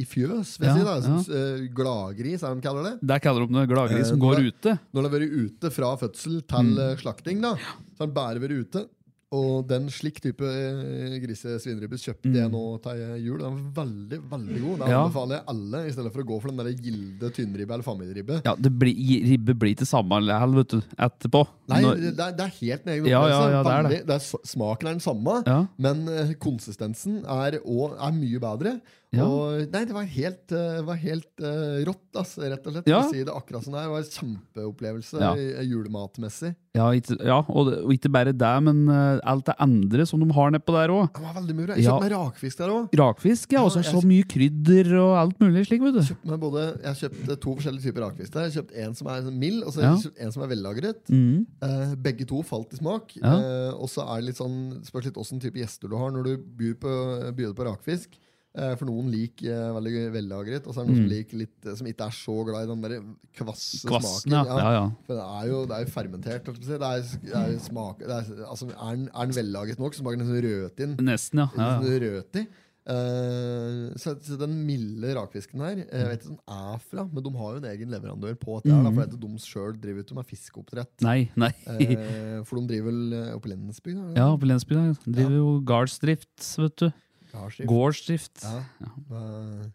i fjøs, vil jeg
Ja,
si. da som, eh, Gladgris, er det de kaller det.
Der kaller de det glagris som
Eh,
går
det-
ute.
Når det har vært ute fra fødsel til
Mm.
eh, slakting, da, så har den bare vært ute. Og den slik type eh, grise-svineribbe kjøpte jeg nå til jul. Den var veldig veldig god. Den
Mm. Ja.
anbefaler jeg alle, i stedet for å gå for den der gilde tynnribbe eller familieribbe.
Ja, det blir, Ribbe blir til samme likevel, vet du, etterpå.
Nei,
Når-
det, er- det er helt en egen
Ja,
opplevelse.
ja, ja, det er
Veldig-
det.
er s- smaken er den samme,
Ja.
men eh, konsistensen er, og, er mye bedre.
Ja.
Og, nei, det var helt, eh, var helt eh, rått, ass, rett og slett.
Ja.
å Si det akkurat som det er. Det var en kjempeopplevelse
Ja.
eh, julematmessig.
Ja, ikke, ja og, det- og ikke bare det, men eh, alt det andre som de har nedpå der òg.
Det var veldig mye bra. Jeg
Ja.
kjøpte meg rakfisk der òg.
Rakfisk, ja. Og så er det så mye krydder og alt mulig slik, vet du.
Kjøpte meg både, jeg kjøpte to forskjellige typer rakfisk. der. Jeg kjøpte En som er sånn mild, og så
Ja.
kjøpte en som er vellagret.
Mm.
Eh, begge to falt i smak.
Ja.
Eh, og så er det litt sånn, spørs litt åssen type gjester du har når du byr på, byr på rakfisk. Eh, for noen liker eh, veldig vellagret, og så er det noen
Mm.
som, liker litt, eh, som ikke er så glad i den der kvasse
Kvassen,
smaken.
ja. ja, ja.
For det er jo, det er jo fermentert. holdt jeg på å si. Det er, det er, smak, det er, altså, er, den, er den vellaget nok, så smaker den nesten rødtinn.
Nesten, ja. ja, ja.
Nesten rødtig. Sånn Eh, så, så den milde rakfisken her eh, Jeg
Mm.
vet ikke om den er fra, men de har jo en egen leverandør på dette. her, da, for at de sjøl driver ut med fiskeoppdrett.
Nei, nei.
Eh, for de driver vel eh, oppe i Lensby? da, eller?
Ja, på Lensby der. Driver jo gardsdrift, vet du.
Gardsdrift.
Gårdsdrift.
Ja. med,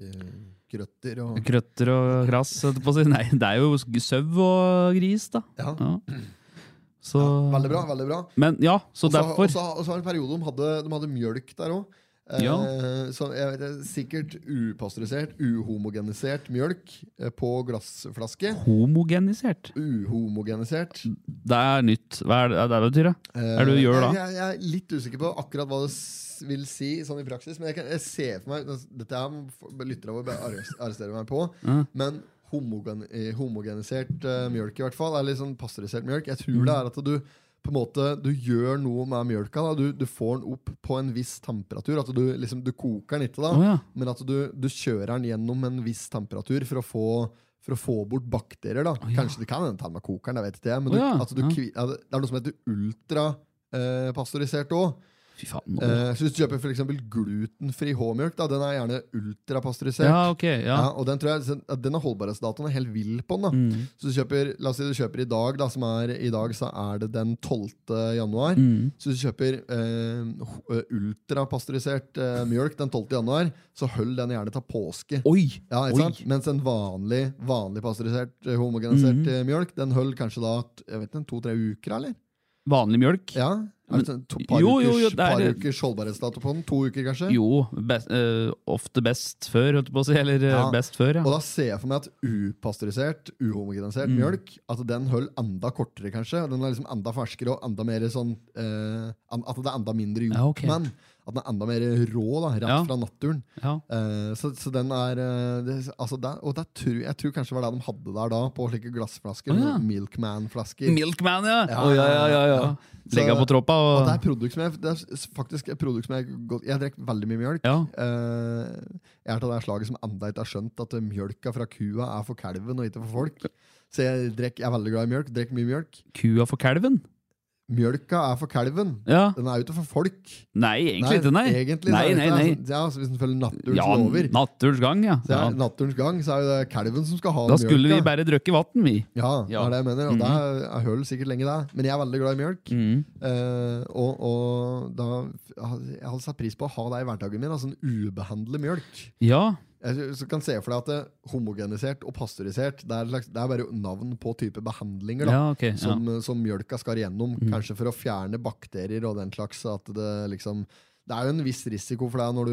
eh, Grøtter og
Krøtter og krass, holdt jeg på å si. Nei, det er jo sau og gris, da.
ja.
Ja. Så
Veldig bra. veldig bra
Men ja, så
Og så
derfor.
og så- og så var det en periode de hadde, de hadde mjølk der òg. Eh,
Ja.
så jeg vet, ikke, Sikkert upasteurisert, uhomogenisert mjølk eh, på glassflaske.
Homogenisert.
Uhomogenisert.
Det er nytt. Hva er det det er det betyr, da? Hva er det du gjør
Jeg,
da?
jeg, jeg er litt usikker på akkurat hva det s- vil si sånn i praksis. Men jeg, kan, jeg ser for meg altså, Dette her må f- lyttere våre bare arres- arrestere meg på. Men homogen, eh, homogenisert eh, mjølk, i hvert fall. Eller sånn pasteurisert mjølk. Jeg
Mm.
tror det er at du på en måte, du gjør noe med mjølka. Da. Du, du får den opp på en viss temperatur. At du, liksom, du koker den ikke, da,
Å, ja.
men at du, du kjører den gjennom en viss temperatur for å få, for å få bort bakterier. Da. Kanskje det kan hende til og med kokeren, jeg vet ikke. Men
Å,
du,
ja.
at du,
Ja.
kvi- ja, det det er noe som heter ultrapasteurisert òg.
Fy faen. nå-
Eh, så hvis du kjøper for eksempel glutenfri H-mjølk, da, den er gjerne ultrapasteurisert.
Ja, ok. Ja.
Ja, og den, tror jeg, at den er holdbarhetsdatoen er helt vill på den. da
Mm.
Så du kjøper, La oss si du kjøper i dag, da, som er i dag så er det den 12.
Mm.
januar. Så hvis du kjøper eh, ho- eh, ultrapasteurisert eh, mjølk den 12. januar, så hold den gjerne til påske.
Oi!
Ja, ikke sant?
Oi.
Mens en vanlig, vanlig pasteurisert, eh, homogenisert
Mhm.
eh, mjølk, den holder kanskje da t- jeg vet ikke, to-tre uker, eller?
Vanlig mjølk?
Ja, er det sånn to, par,
Jo, jo,
ukers,
jo, det er-
par ukers holdbarhetsdato på den? To uker, kanskje?
Jo, best, eh, ofte best før, holdt jeg på å si. Eller eh,
Ja.
best
Og
før, ja.
da ser jeg for meg at upasteurisert, uhomogenisert
Mm.
mjølk At den holder enda kortere, kanskje. Den er liksom enda ferskere og enda mer sånn eh, an- At det er enda mindre gjort
Ja, ok.
med den. At den er enda mer rå, da, rett
Ja.
fra naturen.
ja.
Eh, så, så den er eh, det, altså der, Og der tror, jeg tror kanskje det var det de hadde der da, på slike glassflasker.
Å, ja.
sånne Milkman-flasker.
Milkman, ja!
Ja,
Å, ja, ja, ja, ja.
ja.
Legge
Så-
på troppa
Og
og
det er, produkt som jeg, det er s- faktisk et produkt som jeg godt, Jeg drikker veldig mye mjølk.
Ja.
Eh, jeg er til det slaget som enda ikke har skjønt at eh, mjølka fra kua er for kalven og ikke for folk. Så jeg, drek, jeg er veldig glad i mjølk. Drikker mye mjølk.
Kua for kalven?
Mjølka er for kalven.
Ja.
Den er jo ikke for folk.
Nei, egentlig ikke, nei.
Egentlig, så
nei,
er det sånn,
nei,
ikke
nei.
det. Ja, så hvis en følger naturens
Ja,
lover,
naturens gang, ja.
så
ja.
er naturens gang, så er jo det kalven som skal ha
Da
mjølka.
skulle vi bare drukket vann, vi.
Ja, det
Ja. Mhm.
er det jeg mener. Og det er høl sikkert lenge, det. Men jeg er veldig glad i mjølk. Eh, og, og da Jeg hadde satt pris på å ha det i hverdagen min. Altså en ubehandlet mjølk.
Ja,
Jeg så kan se for deg at det, homogenisert og pasteurisert det er, et slags, det er bare navn på type behandlinger da,
ja ok. Ja.
Sånn. eh,
Mm.
som, som mjølka skal igjennom. Kanskje for å fjerne bakterier og den slags. At det liksom Det er jo en viss risiko for deg når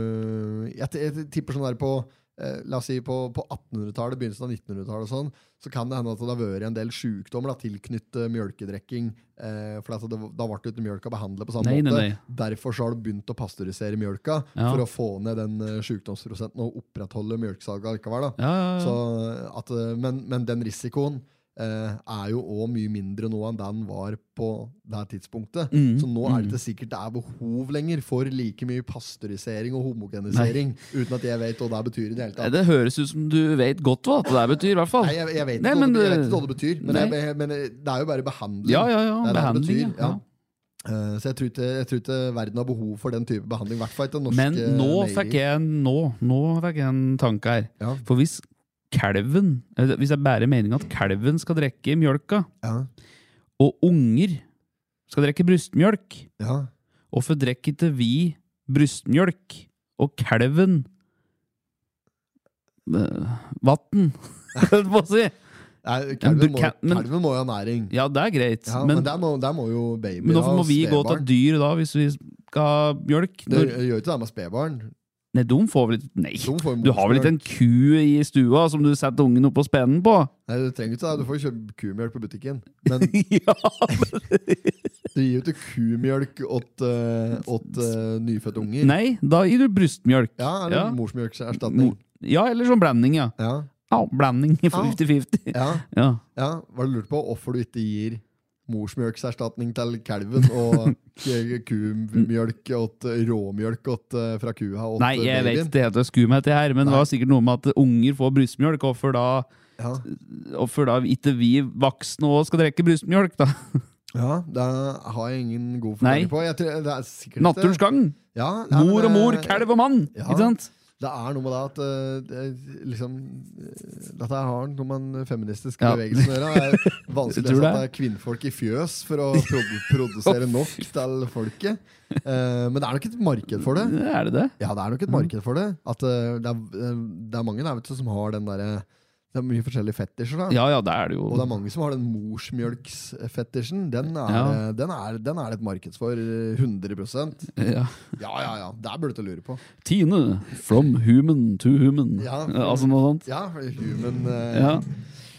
du Jeg, t- jeg tipper sånn der på eh, La oss si på, på 1800-tallet, begynnelsen av 1900-tallet, og sånn, så kan det hende at det har vært en del sykdommer da, tilknyttet mjølkedrekking. Eh, for at det, da ble det ikke mjølka behandla på samme
Nei, nei,
måte.
nei.
Derfor så har du begynt å pasteurisere mjølka
Ja.
for å få ned den eh, sykdomsprosenten og opprettholde mjølkesalget likevel. Da.
Ja, ja, ja.
Så at, eh, men, men den risikoen eh, er jo òg mye mindre nå enn den var på det her tidspunktet.
Mm.
Så nå er det ikke sikkert det er behov lenger for like mye pasteurisering og homogenisering, uten at jeg vet hva det betyr i det hele
Nei,
tatt.
det høres ut som du vet godt hva det der betyr, i hvert fall.
Nei, jeg, jeg, vet
Nei,
ikke hva
men
det, jeg vet
det-
ikke hva det betyr, men,
Nei.
jeg, jeg- men eh, det er jo bare behandling.
Ja, ja,
Det
ja,
er det det
behandling,
betyr,
ja.
ja. Eh, Så jeg tror, ikke, jeg tror ikke verden har behov for den type behandling. I hvert fall ikke den norske
Men nå
legeriket.
fikk jeg en, nå, nå fikk jeg en tanke her.
Ja.
For hvis kalven, eller hvis jeg bærer meningen at kalven skal drikke mjølka,
ja,
og unger skal drikke brystmjølk,
ja.
hvorfor drikker ikke vi brystmjølk og kalven øh, vann? Hva si?
Nei,
Men du
Kalven må,
kan- men-
kalven må jo ha næring.
Ja, det er greit,
Ja, men
men,
der, må, der må jo babyer
men hvorfor
og
må vi gå til
spedbarn.
et dyr da, hvis vi skal ha mjølk?
Det
Når,
gjør jo ikke det med spedbarn.
nei, de får vel ikke Nei!
De får jo
Du har vel ikke en ku i stua som du setter ungen opp på spenen på?
Nei, du trenger ikke det. Du får jo kjøpe kumjølk på butikken. Men
ja,
du gir jo ikke kumjølk åt, eh, åt eh, nyfødte unger.
Nei, da gir du brystmjølk.
Ja, eller
Ja.
morsmjølkserstatning.
Mo- Ja, eller sånn blanding, ja.
Ja,
ja blanding i 50-50.
ja,
Ja.
ja. Var det lurt på hvorfor du ikke gir morsmjølkserstatning til kalven og k- kumjølk åt råmjølk åt, eh, fra kua åt
Nei, jeg vet
babyen?
ikke helt hva skumhet det her, men det var sikkert noe med at unger får brystmjølk. Hvorfor da,
Ja.
hvorfor da ikke vi voksne òg skal drikke brystmjølk, da?
ja, det har jeg ingen god
Nei.
forklaring på. Jeg tror, det er sikkert ikke-
Naturens gang.
Ja, ja, men,
Mor og mor,
eh,
kalv og mann.
ja.
Ikke sant?
Det er noe med det at eh, det er liksom, eh, Dette har noe med den feministiske
Ja.
bevegelsen å gjøre. Det er vanskelig
Tror
å
du
sette
det?
kvinnfolk i fjøs for å produ produsere nok til folket. Eh, men det er nok et marked for det.
Er det det?
Ja, det er
Mm.
nok et marked for det. At eh, det, er, eh, det er mange der, vet du, som har den derre Det er mye forskjellige fetisjer, da.
Ja ja, det er det jo.
Og det er mange som har den morsmjølksfetisjen. Den er, eh,
Ja.
den, er, den er det et marked for. eh, 100
Ja.
Ja, ja, ja. Der burde du lure på.
Tine, from human to human.
Ja.
Altså noe sånt.
Ja, human eh,
Ja.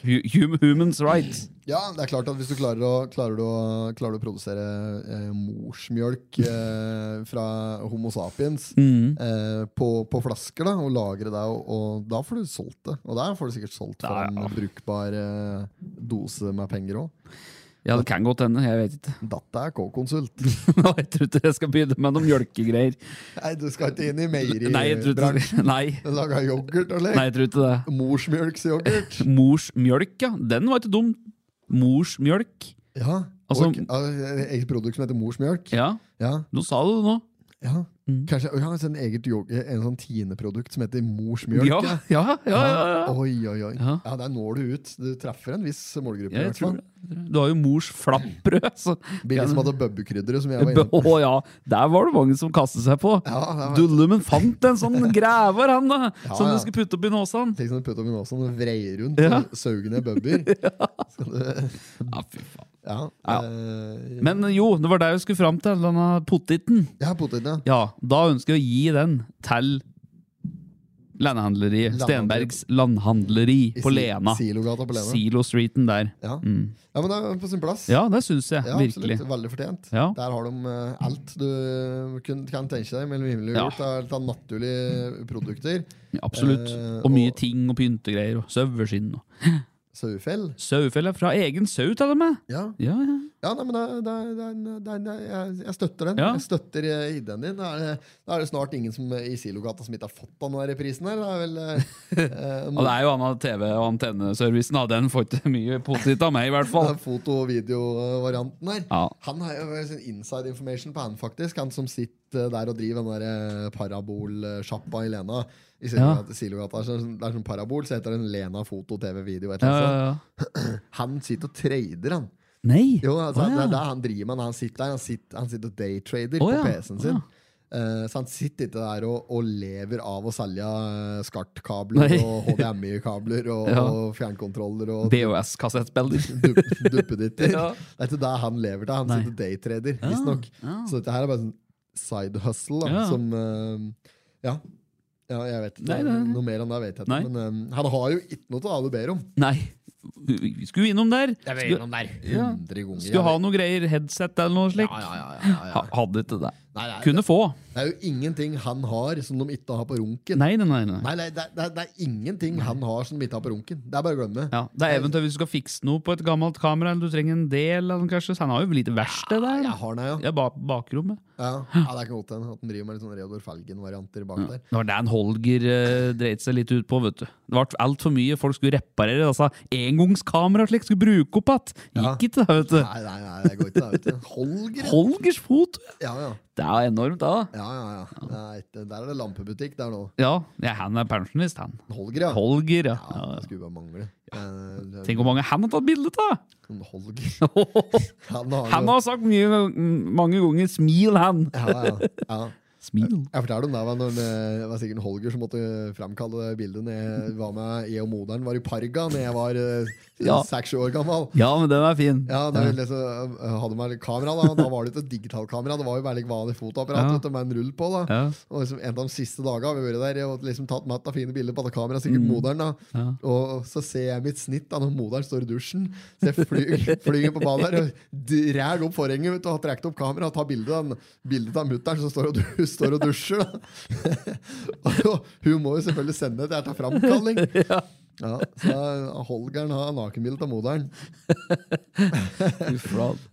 Hu- hum- Humans right.
Ja, det er klart at hvis du klarer å, klarer du å, klarer du å produsere eh, morsmjølk eh, fra Homo sapiens
Mm.
eh, på, på flasker da, og lagre det, og, og da får du solgt det. Og der får du sikkert solgt for
Ja, ja.
en brukbar eh, dose med penger òg.
Ja, det kan godt hende. Jeg vet ikke.
Datta er K-konsulent.
Nå, jeg tror ikke jeg skal begynne med noen mjølkegreier.
Nei, du skal ikke inn i
Nei, jeg tror
meieribransjen.
ikke Nei.
Laga yoghurt og
Nei,
lek.
jeg tror ikke det.
Morsmjølksyoghurt.
Mors mjølk, ja. Den var ikke dum. Mors mjølk.
Ja.
Altså-
og, ja, et produkt som heter morsmjølk.
Ja,
Ja.
nå sa du det nå.
Ja,
Mm.
kanskje ja, altså en eget yoghurt, en sånn Tine-produkt som heter mors mjølk.
Ja,
ja.
ja, ja. ja, ja.
Oi, oi, oi. Ja.
Ja.
Der når du ut. Du treffer en viss målgruppe.
Ja,
i
jeg
hvert
tror
fall.
det. Du har jo mors flappbrød. Så.
Billig som hadde bøbbekrydderet, som jeg var
Å
inne på.
ja, der var det mange som kastet seg på.
Ja, det var-
Dullumen fant en sånn grever, han da,
Ja,
som
ja.
du skulle putte opp i nåsen.
Tenk som du putter oppi nåsen og vreier rundt
Ja.
og sauger ned bøbber. Skal du-
Ja, fy faen.
Ja,
Ja.
eh,
Men jo, det var det jeg skulle fram til, denne pottiten.
ja poteten, ja.
Ja, da ønsker jeg å gi den til landhandleriet.
Landhandler-
Stenbergs landhandleri
I
på
si-
Lena.
Silogata på Lena.
Silo-streeten der.
Ja.
Mm.
ja, men det er på sin plass.
Ja, det syns jeg.
Ja,
virkelig.
absolutt. Veldig fortjent.
Ja.
Der har de eh, alt du kun, kan tenke deg mellom himmel og
Ja.
jord. Det er- Det er naturlige produkter.
Absolutt.
Eh,
Og mye
og-
ting og pyntegreier og saueskinn. og-
Sauefell.
Sauefelle fra egen sau, til og med!
Ja.
Ja, ja.
Ja, nei, men det, det, det, det, det, det, jeg, jeg støtter den.
Ja.
Jeg støtter eh, ideen din. Da er, det, da er det snart ingen som, eh, i Silogata som ikke har fått av denne prisen her. Det er vel eh,
Og det er jo annen TV- og antenneservicen, da. Den får ikke mye potet av meg, i hvert
eh,
fall.
foto- og videovarianten her.
Ja.
Han har jo sin inside information på han, faktisk. Han som sitter eh, der og driver den der eh, parabolsjappa i Lena. I
Ja.
Silogata, Silogata så er det sånn- det er sånn parabol, så heter den Lena foto, TV, video. Et
Ja,
eller annet
ja, ja.
sånt. Han sitter og trader, han.
Nei!
Jo, altså,
Å, ja.
det er det han driver med. når Han sitter, der. han sitter, han sitter og daytrader
Å,
på
ja.
PC-en sin.
Å, ja.
Eh, så han sitter ikke der og, og lever av å selge eh, SCART-kabler
Nei.
og HDMI-kabler og,
Ja.
og fjernkontroller og
BOS-kassettspiller.
dupp- duppeditter.
Ja.
Det er ikke det han lever til. Han sitter daytrader,
Ja.
visstnok.
Ja.
Så dette her er bare sånn side hustle, da,
Ja.
som eh, ja. ja, jeg vet ikke.
Nei, nei, nei.
Noe mer enn det vet jeg
Nei.
ikke. Men eh, han har jo ikke noe til å ber om.
Nei, skulle vi innom der. Skulle, Ja.
100 ganger.
skulle ha noe greier, headset eller noe
Ja, ja,
slikt.
ja, ja, ja, ja.
Ha- Hadde ikke det.
Nei, nei,
Kunne få.
Det er jo ingenting han har som de ikke har på runken. Nei,
Nei, nei, nei. nei.
nei, det, er- det, er- det er ingenting han har som de ikke har på runken. Det er bare å glemme.
Ja, det er eventuelt hvis du skal fikse noe på et gammelt kamera, eller du trenger en del av den, kanskje. Så han har jo lite verksted der.
Jeg har den, ja.
Ja, ba bakrommet.
Ja. ja, Det er ikke godt hende at han driver med litt sånn Reodor Felgen-varianter bak der.
Det var det han Holger eh, dreit seg litt ut på. vet du. Det ble altfor mye folk skulle reparere. altså Engangskamera og slikt skulle bruke opp igjen.
Ja.
Gikk ikke, det, vet du.
Nei, nei, nei, det går ikke. Det, vet du. Holger! ja.
Holgers fot!
Ja, ja.
Det er enormt, da.
Ja, ja, ja. Det er ikke- der er det lampebutikk der nå.
Ja, ja han er pensjonist, han.
Holger, ja.
Holger, ja.
ja det skulle bare mangle. Eh, det er
Tenk hvor mange han har tatt bilde av!
en Holger. Han har
Han
jo
har sagt mye, mange ganger 'smil, han'.
ja, ja, ja.
Smil.
Jeg fortalte om det var når eh, det var sikkert en Holger som måtte framkalle det bildet når jeg var med jeg og moderen var i Parga da jeg var eh,
Ja.
seks år gammel.
Ja, men den er fin.
Ja, da ville jeg så, eh, hadde man kamera da Da var det ikke et digitalkamera, det var jo veldig vanlig fotoapparat
Ja.
vet du, med en rull på. da
Ja.
Og liksom En av de siste dagene har vi vært der Jeg har liksom tatt matt av fine bilder på det kameraet, sikkert moderen. da
Mm. Ja.
Og så ser jeg mitt snitt da når moderen står i dusjen. Så jeg fly- flyr på badet her og drar opp forhenget vet du, og har trukket opp kameraet og tar bilde av, den- bildet av mutter'n som står og, du, står og dusjer. da Og hun må jo selvfølgelig sende det her til framkalling. Ja, så Holgeren har nakenbilde av moderen.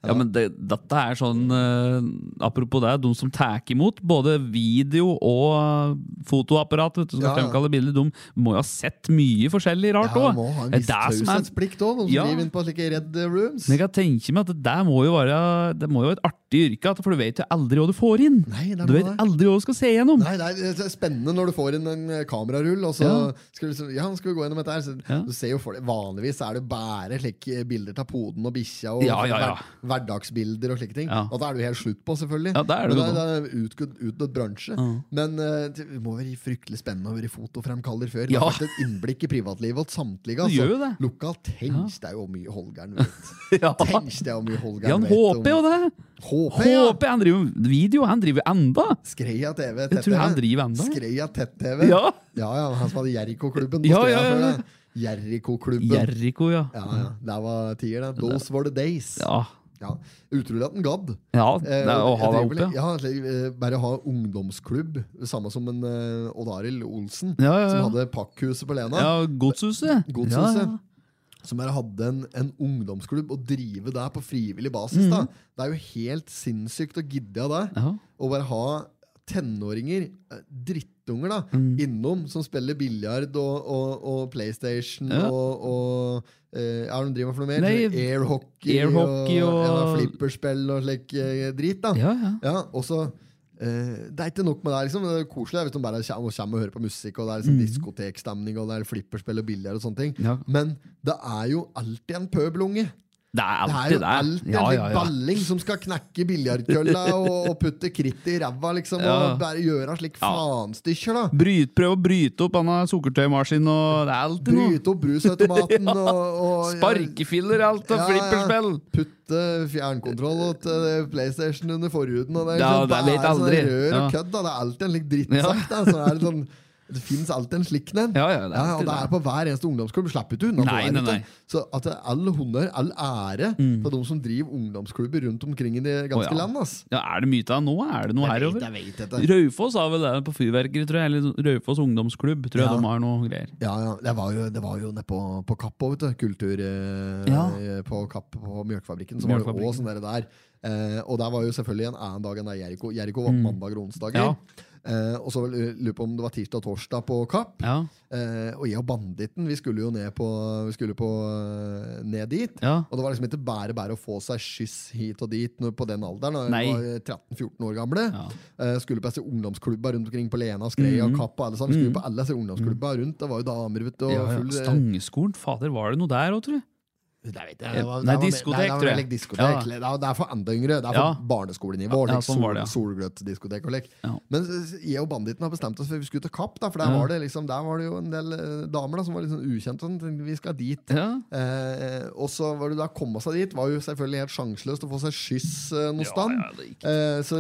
Ja, men det, dette er sånn eh, Apropos det, de som tar imot både video og eh, fotoapparat, vet du, som
Ja, ja.
fremkaller bilder, de må jo ha sett mye forskjellig rart
Ja,
òg.
man må ha en viss taushetsplikt òg, noen
Ja.
som driver inn på slike red rooms.
men jeg kan tenke meg at det der må jo være Det må jo være et artig yrke, at- for du vet jo aldri hva du får inn.
Nei, det er
du
noe
vet
der.
aldri hva du skal se gjennom.
Nei, nei, det er spennende når du får inn en eh, kamerarull, og så
Ja.
skal du liksom Ja, nå skal vi gå gjennom dette her. Så,
Ja.
du ser jo for deg, Vanligvis er det bare slike bilder av poden og bikkja og
Ja, ja, ja.
hver- hverdagsbilder og slike ting.
Ja.
Og da er du helt slutt på, selvfølgelig.
Ja, det er du
Men
jo
det er en utgått- utdødd bransje. Men eh, det må være fryktelig spennende å være fotofremkaller før. Det
Ja.
har vært et innblikk i privatlivet hos samtlige.
Det
Altså.
gjør jo det.
Lokalt. Tenk deg hvor mye Holgeren vet.
Ja.
Tenk deg hvor mye Holgeren
Ja, han
vet om-
håper jo det!
Håper, ja.
Håper Han driver med video, han driver enda!
Skreia TV.
Jeg tror han driver enda.
Skreia Tett-TV.
Ja.
ja, ja, Han som hadde Jerrikoklubben på
Ja,
Skreia
ja, ja.
før. det. Jerrikoklubben.
Jerrico, ja.
ja, ja. Det var tier, det. Those were the days.
Ja,
Ja. Utrolig at han gadd.
ja det
Eh,
er å
jeg
ha
driver
deg oppe.
litt- ja, slik, eh, bare ha ungdomsklubb, samme som en eh, Odd Arild Olsen,
Ja, ja, ja.
som hadde Pakkhuset på Lena.
Ja, Godshuset.
Godshuset.
Ja, ja.
Som bare hadde en, en ungdomsklubb og drive det på frivillig basis.
Mhm.
da. Det er jo helt sinnssykt å gidde av det.
Ja.
Å bare ha tenåringer, eh, drittunger, da,
Mm.
innom som spiller biljard og, og, og PlayStation
Ja.
og, og eh, er det de driver med for noe mer?
Nei,
Airhockey
air hockey
og, ja,
og-
flipperspill og slik eh, drit. da.
Ja, ja.
Ja, og så eh, Det er ikke nok med det. liksom Det er koselig hvis de bare kommer, kommer og hører på musikk, og det er liksom diskotekstemning og det er flipperspill og billiard og sånne ting.
Mm. Ja.
Men det er jo alltid en pøbelunge.
Det er
Det er
alltid
jo
det.
alltid en
Ja,
slik
ja, ja.
balling som skal knekke biljardkølla og, og putte kritt i ræva, liksom,
Ja.
og bare gjøre slik
Ja.
faenstykker, da.
Bryt, prøv å bryte opp denne sukkertøymaskinen, og det er alltid noe.
Bryte opp brusautomaten og, og
Sparkefiller, alt, og
Ja, ja, ja.
flipperspill.
Putte fjernkontroll og til PlayStation under forhuden. Og det, er
Ja,
liksom-
det vet
er sånn
aldri.
rør og
Ja.
kødd. Da. Det er alltid en lik drittsekk. da. Så er Det, sånn, det fins alltid en slik en.
Ja, ja, det er
og
alltid
det
det.
er på hver eneste ungdomsklubb. Slapp ikke unna. på
Nei,
hver,
nei,
vet du.
nei. Mm.
Så at det er all honnør, all ære, til de som driver ungdomsklubber rundt omkring i det ganske
Å, ja.
land. ass.
Ja, er det mye av det nå? Er det noe
Jeg vet,
herover?
jeg vet dette.
Raufoss har vel det på fyrverkeri, tror jeg. Eller Raufoss ungdomsklubb, tror jeg
Ja.
de har noe greier.
Ja, ja. Det var jo, det var jo nede på, på Kapp òg, vet du. Kultur eh,
Ja.
eh, på Kapp på Mjølkefabrikken. Så var det
Mjølkefabrikken.
også sånn der. der. Eh, og der var jo selvfølgelig en annen dag enn det Jeriko. Jeriko var mandag og onsdager.
Mm. Ja.
Eh, og så vel, eh, lurer på om det var tirsdag og torsdag på Kapp.
Ja,
Eh, og jeg og banditten vi skulle jo ned, på, vi skulle på, eh, ned dit.
Ja.
Og det var liksom ikke bare bare å få seg skyss hit og dit når, på den alderen. Da. Vi
Nei.
var eh, 13-14 år gamle.
Ja. Mhm.
Eh, skulle på disse ungdomsklubba rundt omkring på Lena, Skreia og Kapp. og alle sammen. Vi skulle på alle disse ungdomsklubba rundt. Det var jo damer, vet du. Og
ja, ja.
full, eh,
Stangeskolen, fader, var det noe der òg, tror du?
det vet jeg, det var-
Nei,
det var-
diskotek,
nei, det var
tror jeg.
vel ikke Diskotek.
Ja.
Det er- Det er for enda yngre. Det er for
Ja.
barneskolenivå.
Ja,
Ja,
sånn var det, ja.
Solgløttdiskotek og lek.
Ja.
Men s- s- jeg og banditten har bestemt oss for vi skulle til Kapp, da, for der,
Ja.
var det liksom, der var det jo en del eh, damer da, som var litt sånn ukjente. og sånn, tenkte Vi skal dit.
Ja.
Eh, og så var det da å komme seg dit var jo selvfølgelig helt sjanseløst å få seg skyss eh, noe
Ja,
sted.
ja, det gikk.
eh, så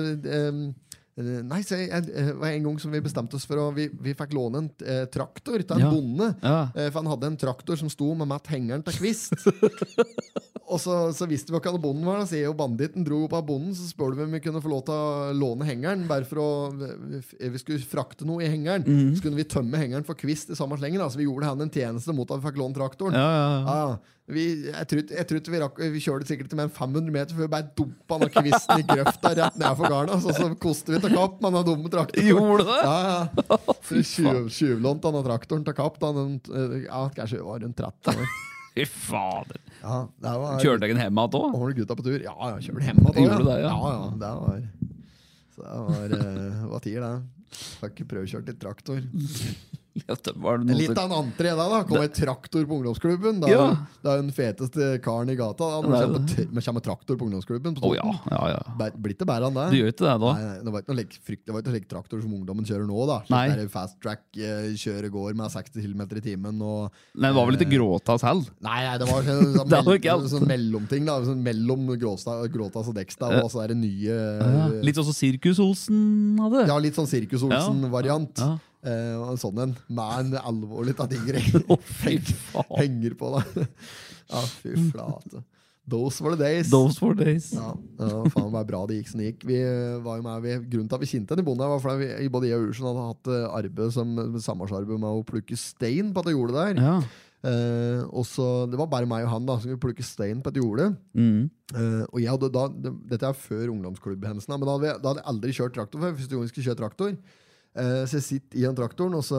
eh, Eh, Nei, se, jeg, eh, var en gang som vi bestemte oss for å Vi, vi fikk låne en eh, traktor til en
Ja.
bonde.
Ja.
Eh, For han hadde en traktor som sto med matt hengeren til kvist. og så, så visste vi ikke hva bonden var. Da sier jo banditten dro opp av bonden, så spør du om vi kunne få lov til å låne hengeren. Bare for å eh, Vi vi skulle frakte noe i hengeren.
Mhm.
Så kunne vi tømme hengeren for kvist i samme slengen. da. Så vi gjorde han en tjeneste mot at vi fikk låne traktoren.
Ja, ja, ja.
Ja, Ah, vi, jeg trodde, jeg trodde vi, rakk, vi kjørte sikkert med en 500 meter før vi bare dumpa den kvisten i grøfta rett nedfor garna. altså, Så, så koste vi til Kapp med den dumme traktoren.
Gjorde det?
Ja, ja. Vi tjuv- Tjuvlånte den traktoren til Kapp da den eh, ja, kanskje var rundt 30 år.
Fy fader.
Ja, det var
Kjørte deg en hjem igjen òg?
Ordentlig gutta på tur. Ja, ja, kjører hjem igjen.
Gjorde du det, ja?
ja, ja, det var Så det var eh, Hva tider det? Har ikke prøvkjørt litt traktor. Litt av en entré da, da. Kommer traktor på ungdomsklubben. Da,
Ja.
Det er jo den feteste karen i gata. Da. Når
Det
det
er
kommer, tra- men kommer traktor på ungdomsklubben. På
Å ja,
Toten.
ja, ja.
Bæ- Blir ikke bedre enn det.
Du gjør ikke det, da?
Nei, nei, det var ikke noe like frykt- det var ikke noe like traktor som ungdommen kjører nå. da Slik
Nei.
der Fast track, eh, kjøre går med 60 km i timen. Og,
Nei, det var vel
Eh.
litt gråta selv?
nei, nei, det var sånn, sånn,
Det var
mell-
ikke alt.
sånn mellomting. da sånn Mellom Gråta, Gråtas og Dekstad og så er det nye eh,
Litt også Sirkus-Olsen hadde?
Ja, litt sånn Sirkus Olsen-variant.
Ja.
Eh, og en sånn en. Med en alvorlig tatt ingre.
Å, fy faen.
Henger på, da. ja, fy
Mm.
flate. Those were the days.
Those four days.
Ja, ja, faen det var bra det gikk som det gikk. Vi eh, var jo med, vi, grunnen til at vi kjente henne i bonden, her var fordi vi, både jeg og Ursen hadde hatt eh, arbeid som samarbeidsarbeid med å plukke stein på et jorde der.
Ja.
Eh, og så, Det var bare meg og han da som skulle plukke stein på et jorde.
Mm.
Eh, og jeg hadde da, det, dette er før ungdomsklubbhendelsen, da, men da hadde, jeg, da hadde jeg aldri kjørt traktor før. Første gang jeg skulle kjøre traktor. Eh, så jeg sitter i den traktoren, og så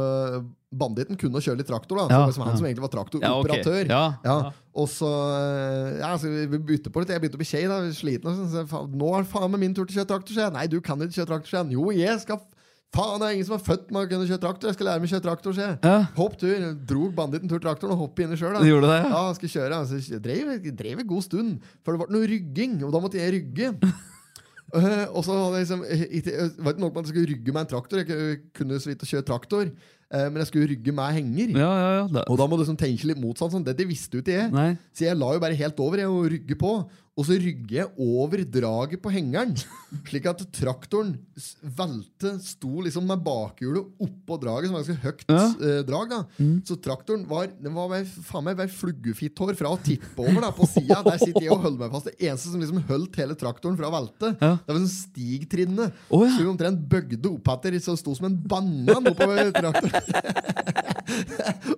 Banditten kunne kjøre litt traktor, da. Så
Ja,
det var liksom han
ja.
som egentlig var
Ja, ok.
traktoroperatør.
Ja, ja.
Og så eh, ja, så vi- vi bytter på litt. Jeg begynte å bli kjei, da. Sliten. Og sånn, så jeg, faen, nå er det faen meg min tur til å kjøre traktor, sier jeg. Nei, du kan ikke kjøre traktor, sier han. Jo, jeg skal Faen, det er ingen som er født med å kunne kjøre traktor. Jeg skal lære meg å kjøre traktor, sier jeg.
Ja.
Hopp tur. Drog banditten tur traktoren og hopp inni sjøl, da.
Du gjorde det?
Ja, han skulle kjøre. Altså, jeg drev, jeg drev en god stund, for det ble noe rygging, og da måtte jeg rygge. Eh, og så hadde jeg liksom eh, ikke- eh, var det ikke nok med at jeg skulle rygge med en traktor. Jeg ku- kunne så vidt å kjøre traktor, eh, men jeg skulle rygge med henger.
Ja, ja, ja. Da.
Og da må du liksom tenke litt motsatt. Sånn. Dette visste jo ikke jeg.
Nei.
Så jeg la jo bare helt over jeg, og rygge på. Og så rygger jeg over draget på hengeren, slik at traktoren s- velte, sto liksom med bakhjulet oppå draget, som var ganske høyt
Ja. Mm.
eh, drag. da. Så traktoren var den var bare- faen meg bare fluggefitthår fra å tippe over da, på sida. Der sitter jeg og holder meg fast. Det eneste som liksom holdt hele traktoren fra å velte,
Ja.
det var sånn stigtrinnet.
Å, ja.
Så vi omtrent bøgde oppetter, så det sto som en banan oppover traktoren.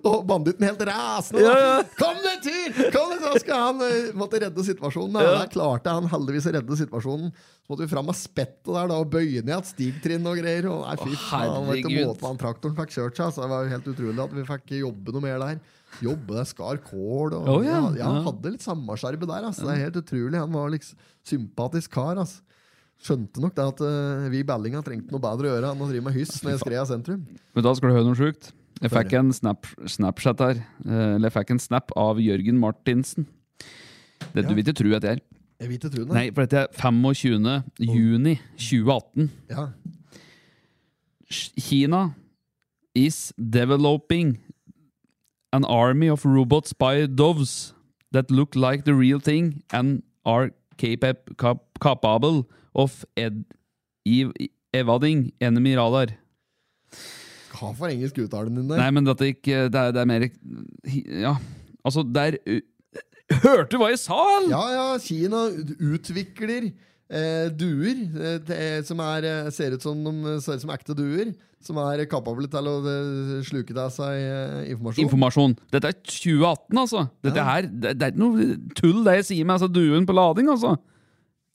Og banditten helt rasende.
Ja, ja.
Kom deg tur! Kom deg, så skal han eh, måtte redde situasjonen. Da. Og Der klarte han heldigvis å redde situasjonen. Så måtte vi fram med spettet der da, og bøye ned et stigtrinn og greier. Og nei, fy
Å,
faen, det var ikke måte
herregud.
han traktoren fikk kjørt seg. Så det var jo helt utrolig at vi fikk jobbe noe mer der. Jobbe, det skar kål og
Å, ja.
ja, han
Ja.
hadde litt samarbeidsarbeid der. Altså. Det er helt utrolig. Han var liksom sympatisk kar. Altså. Skjønte nok det at eh, vi i Bellinga trengte noe bedre å gjøre enn å drive med hyss nede i Skrea sentrum.
Men da skal du høre noe sjukt. Jeg fikk en snap, Snapchat her. eh, Eller jeg fikk en snap av Jørgen Martinsen. Det du
Ja.
vil ikke tro at jeg er.
Jeg vil ikke tro det.
Nei, for dette er 25. juni 2018.
Ja.
Kina is developing an army of robot spy doves that look like the real thing and are capab- cap- capable of ed ev evading enemy radar.
Hva for engelsk uttalen din der?
Nei, men dette gikk eh, Det er, det er mer Ja, altså, der Hørte du hva jeg sa, eller?
Ja, ja, Kina utvikler eh, duer eh, det er- som er, eh, ser, ut som de, ser ut som ekte duer. Som er kapable til å eh, sluke til seg eh, informasjon.
Informasjon. Dette er 2018, altså. Dette her, det, det er ikke noe tull, det jeg sier med altså, duen på lading, altså.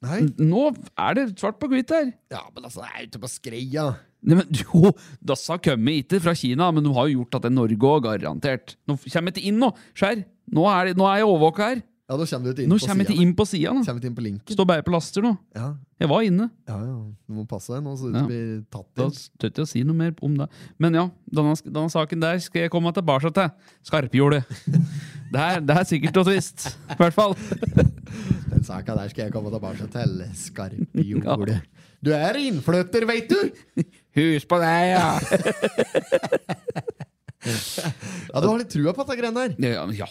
Nei?
Nå er det svart på hvitt her.
Ja, men altså, det er ute på skreia.
Nei, men jo, Dassa kommer ikke fra Kina, men de har jo gjort at det er Norge òg, garantert. Nå kommer jeg ikke inn nå, skjær. Nå er, det, nå er jeg overvåka her.
Ja, nå kommer du ikke inn
Nå
på
kommer jeg
siden.
ikke inn på sida.
Kommer ikke inn på linken.
Står bare på laster nå.
Ja,
Jeg var inne.
ja, ja. Du må passe deg nå, så du
Ja.
ikke blir tatt
Da
inn.
tør ikke å si noe mer om det. Men ja, denne, denne saken der skal jeg komme tilbake til. Skarphjulet. Det er, det er sikkert noe twist. I hvert fall.
Den saka der skal jeg komme tilbake til. Skarpjordet. Du er innflytter, veit du!
Hus på deg, ja!
Ja, Du har litt trua på dette greiene der.
Ja, ja,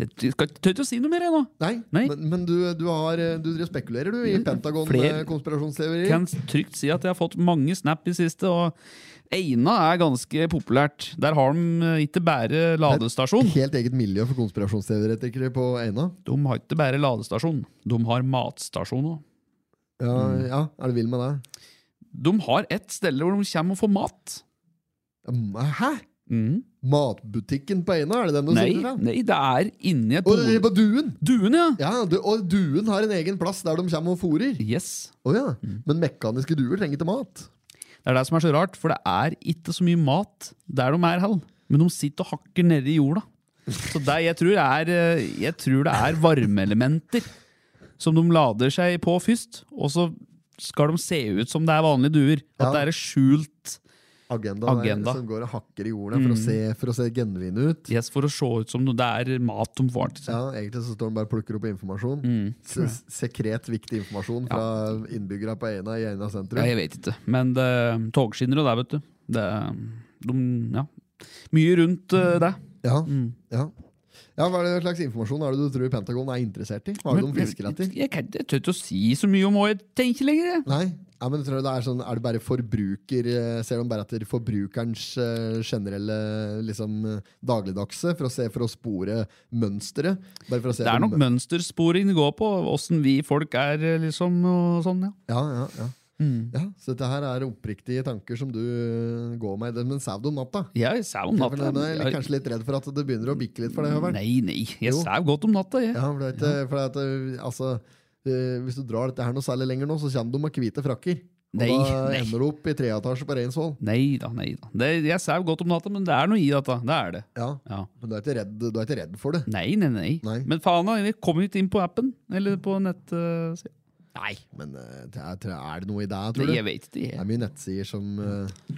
Jeg skal ikke- tør ikke å si noe mer, jeg nå.
Nei,
Nei. Mm.
men, men du, du, har, eh, du driver og spekulerer du i eh,
Flere-
Pentagon-konspirasjonsteorier.
Kan trygt si at jeg har fått mange snap i siste, og Eina er ganske populært. Der har de eh, ikke bare ladestasjon.
Helt eget miljø for konspirasjonsteoretikere på Eina.
De har ikke bare ladestasjon, de har matstasjon òg.
Ja,
Mm.
ja, er du vill med det?
De har ett sted hvor de kommer og får mat.
Mm, Hæ?
Mm.
Matbutikken på Eina, er det den du
Nei,
sitter fra?
nei, det er inni et
Og det er
bod.
på Duen!
Duen, ja!
Ja, du, og Duen har en egen plass der de kommer og fôrer.
Yes.
Å ja.
Mm.
Men mekaniske duer trenger ikke mat.
Det er det som er så rart, for det er ikke så mye mat der de er hell. Men de sitter og hakker nedi jorda. Så det jeg tror, er, eh, jeg tror det er varmeelementer som de lader seg på først. Og så skal de se ut som det er vanlige duer. At
Ja.
det er et skjult
Agenda,
Agenda. Mm.
Der, som går og hakker i jorda for, å se, for å se genuine ut.
yes, for å se ut som det er mat de får. Liksom.
Ja, Egentlig så står de bare og plukker opp informasjon.
Mm.
Se- Sekret viktig informasjon fra innbyggere på Eina i Eina sentrum.
Ja, jeg vet ikke. Men det, togskinner og det, vet du. Det, de, ja. Mye rundt eh, det.
Ja, ja. ja, Hva er det slags informasjon er det du tror Pentagon er interessert i? Hva er det de fisker etter?
Jeg, kan- jeg tør ikke å si så mye om hva jeg tenker lenger. jeg.
Nei, ja, men jeg tror det Er sånn, er det bare forbruker eh, Ser de bare etter forbrukerens eh, generelle liksom, eh, dagligdagse for å, se, for å spore mønsteret? Bare for å se
Det er
om-
nok mønstersporing det går på, åssen vi folk er, liksom. og sånn, ja.
Ja, ja, ja.
Mm.
ja, Så dette her er oppriktige tanker som du eh, går med. Men sov du om natta?
Jeg sau om
Ja, for
natta.
den er jeg litt-
Jeg-
kanskje litt redd for at det begynner å bikke litt for deg, Høveren.
Nei, nei. Jeg
Jo.
sau godt om natta, jeg.
Ja, for det er ikke, for det er at, eh, altså, eh, hvis du drar dette her noe særlig lenger nå, så kommer du med hvite frakker. Og
Nei,
da
nei.
ender du opp i treetasje på Reinsvoll.
Nei da, nei da. Det, jeg sau godt om natta, men det er noe i dette. Det er det.
Ja,
Ja.
men du er, ikke redd, du er ikke redd for det.
Nei, nei, nei.
Nei.
Men faen, da, vi kom ikke inn på appen. Eller på nett... eh, se-
Nei. Men eh, det er, er det noe i deg, tror
Nei,
du?
jeg vet ikke.
Det
Jeg.
er mye nettsider som eh,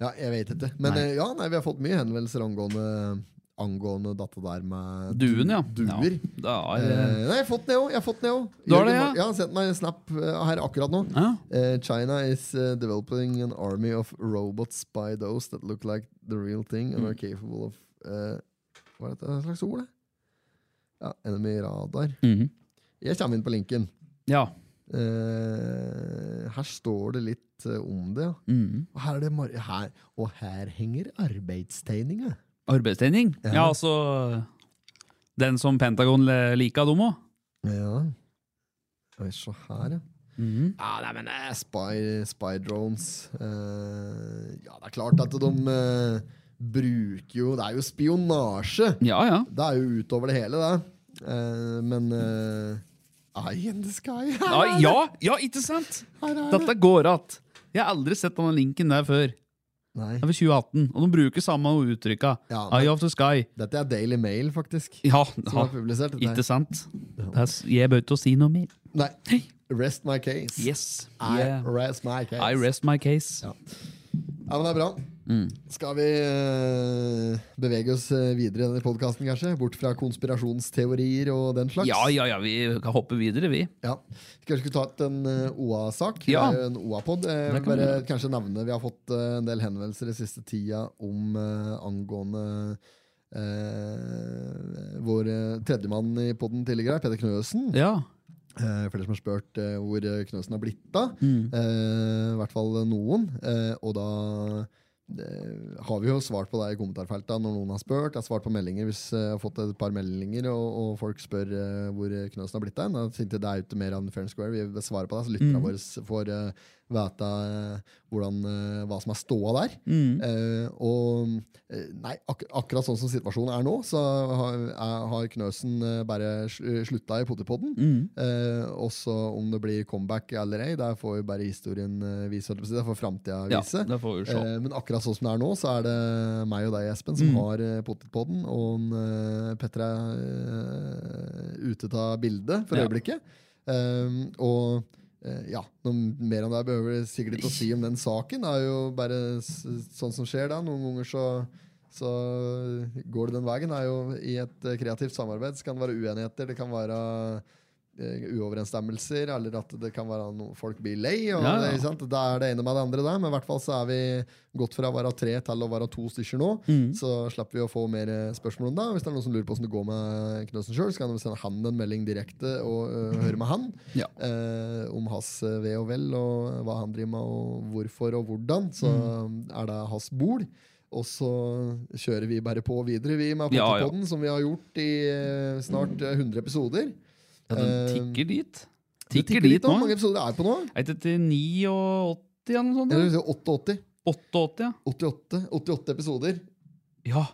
Ja, jeg vet ikke. Men
Nei.
eh, ja, nei, vi har fått mye henvendelser angående, angående dette der med
Duen, ja.
duer.
Ja,
Eh,
det er,
nei, jeg har fått det òg. Jeg har fått det også.
Du har det,
Jørgen
ja?
Mar- ja, han sendte meg en snap eh, her akkurat nå.
Ja.
Eh, China is eh, developing an army of robots by those that look like the real thing and are capable of eh, Hva er dette slags ord, det? Ja, enemy radar.
Mhm.
Jeg kommer inn på linken.
ja.
Eh, her står det litt eh, om det. ja.
Mhm.
Og her, er det mar her, og her henger arbeidstegninga.
Arbeidstrening? Ja.
Ja.
altså Den som Pentagon le- liker, dem òg?
Ja. Oi, se her, ja.
Mhm.
Ja, nei, men eh, spy, spy drones eh, Ja, det er klart at de eh, bruker jo Det er jo spionasje!
Ja, ja.
Det er jo utover det hele, det. Eh, men eh, Eye in the sky!
Ja, ja, ja ikke sant?
Her er det.
Dette går att. Jeg har aldri sett denne linken der før.
Nei,
Det er fra 2018, og de bruker samme uttrykka.
Ja, men-
Eye of the sky.
dette er Daily Mail, faktisk.
Ja,
Som
ja.
har publisert
ikke
dette.
sant? Det er s- Jeg bør ikke si noe mer.
Nei. Rest my case.
Yes.
I
Yeah.
rest my case.
I rest my case.
Ja. Ja, men det er bra.
Mm.
Skal vi eh, bevege oss eh, videre i denne podkasten, kanskje? Bort fra konspirasjonsteorier og den slags?
Ja, ja, ja, vi kan hoppe videre, vi.
Ja. Skal vi skulle ta ut en eh, OA-sak? Det
Ja.
er jo en OA-pod. Eh,
Det kan vi
bare
gjøre.
kanskje nevne Vi har fått eh, en del henvendelser den siste tida om eh, angående eh, vår eh, tredjemann i poden tidligere, Peder Knøsen.
Ja.
Eh, flere som har spurt eh, hvor eh, Knøsen har blitt av. Eh, I hvert fall noen. Eh, og da eh, har vi jo svart på det i kommentarfeltet når noen har spurt. Jeg har svart på meldinger hvis eh, jeg har fått et par meldinger, og, og folk spør eh, hvor eh, Knøsen har blitt av. Da tenkte jeg det er ute mer av Fair and Square. Vi svarer på det, så lytterne våre får eh, vite eh, hvordan, eh, hva som er ståa der.
Mm,
Eh, og eh, nei, ak akkurat sånn som situasjonen er nå, så har, er, har Knøsen eh, bare sl slutta i potipodden.
mm.
Eh, også om det blir comeback eller ei, der får jo bare historien eh, vise. holdt jeg på å si. Det får framtida
Ja,
vise.
det får vi se. Mm.
Eh, men akkurat sånn som det er nå, så er det meg og deg, Espen, som har eh, potipodden. Og en, eh, Petter er eh, ute av bildet for
Ja.
øyeblikket. Eh, og eh, ja, noe mer om det behøver jeg sikkert ikke å si om den saken. Det er jo bare s sånn som skjer da. Noen ganger så, så går det den veien. Det er jo I et eh, kreativt samarbeid så kan det være uenigheter. Det kan være eh, uoverensstemmelser, eller at det kan være noe folk blir lei. Og
Ja, ja.
Det, ikke sant? Da er det ene med det andre, der, men i hvert fall så er vi gått fra å være tre til å være to stykker nå.
Mm.
Så slipper vi å få mer eh, spørsmål om det. Og Hvis det er noen som lurer på hvordan det går med Knøsen sjøl, så kan de sende han en melding direkte og eh, høre med han
Ja.
eh, om hans eh, ve og vel, og hva han driver med, og hvorfor og hvordan. Så
Mm.
er det hans bol. Og så kjører vi bare på videre, vi med
Ja, ja.
Potterpodden, som vi har gjort i eh, snart eh, 100 episoder. eh,
Ja, den tikker dit.
Det
Tikker dit
litt nå. Hvor mange
nå.
episoder er det på nå?
Er det til 89 eller noe sånt?
Eller skal
da?
vi si 88?
88, ja.
88, 88 episoder.
Ja,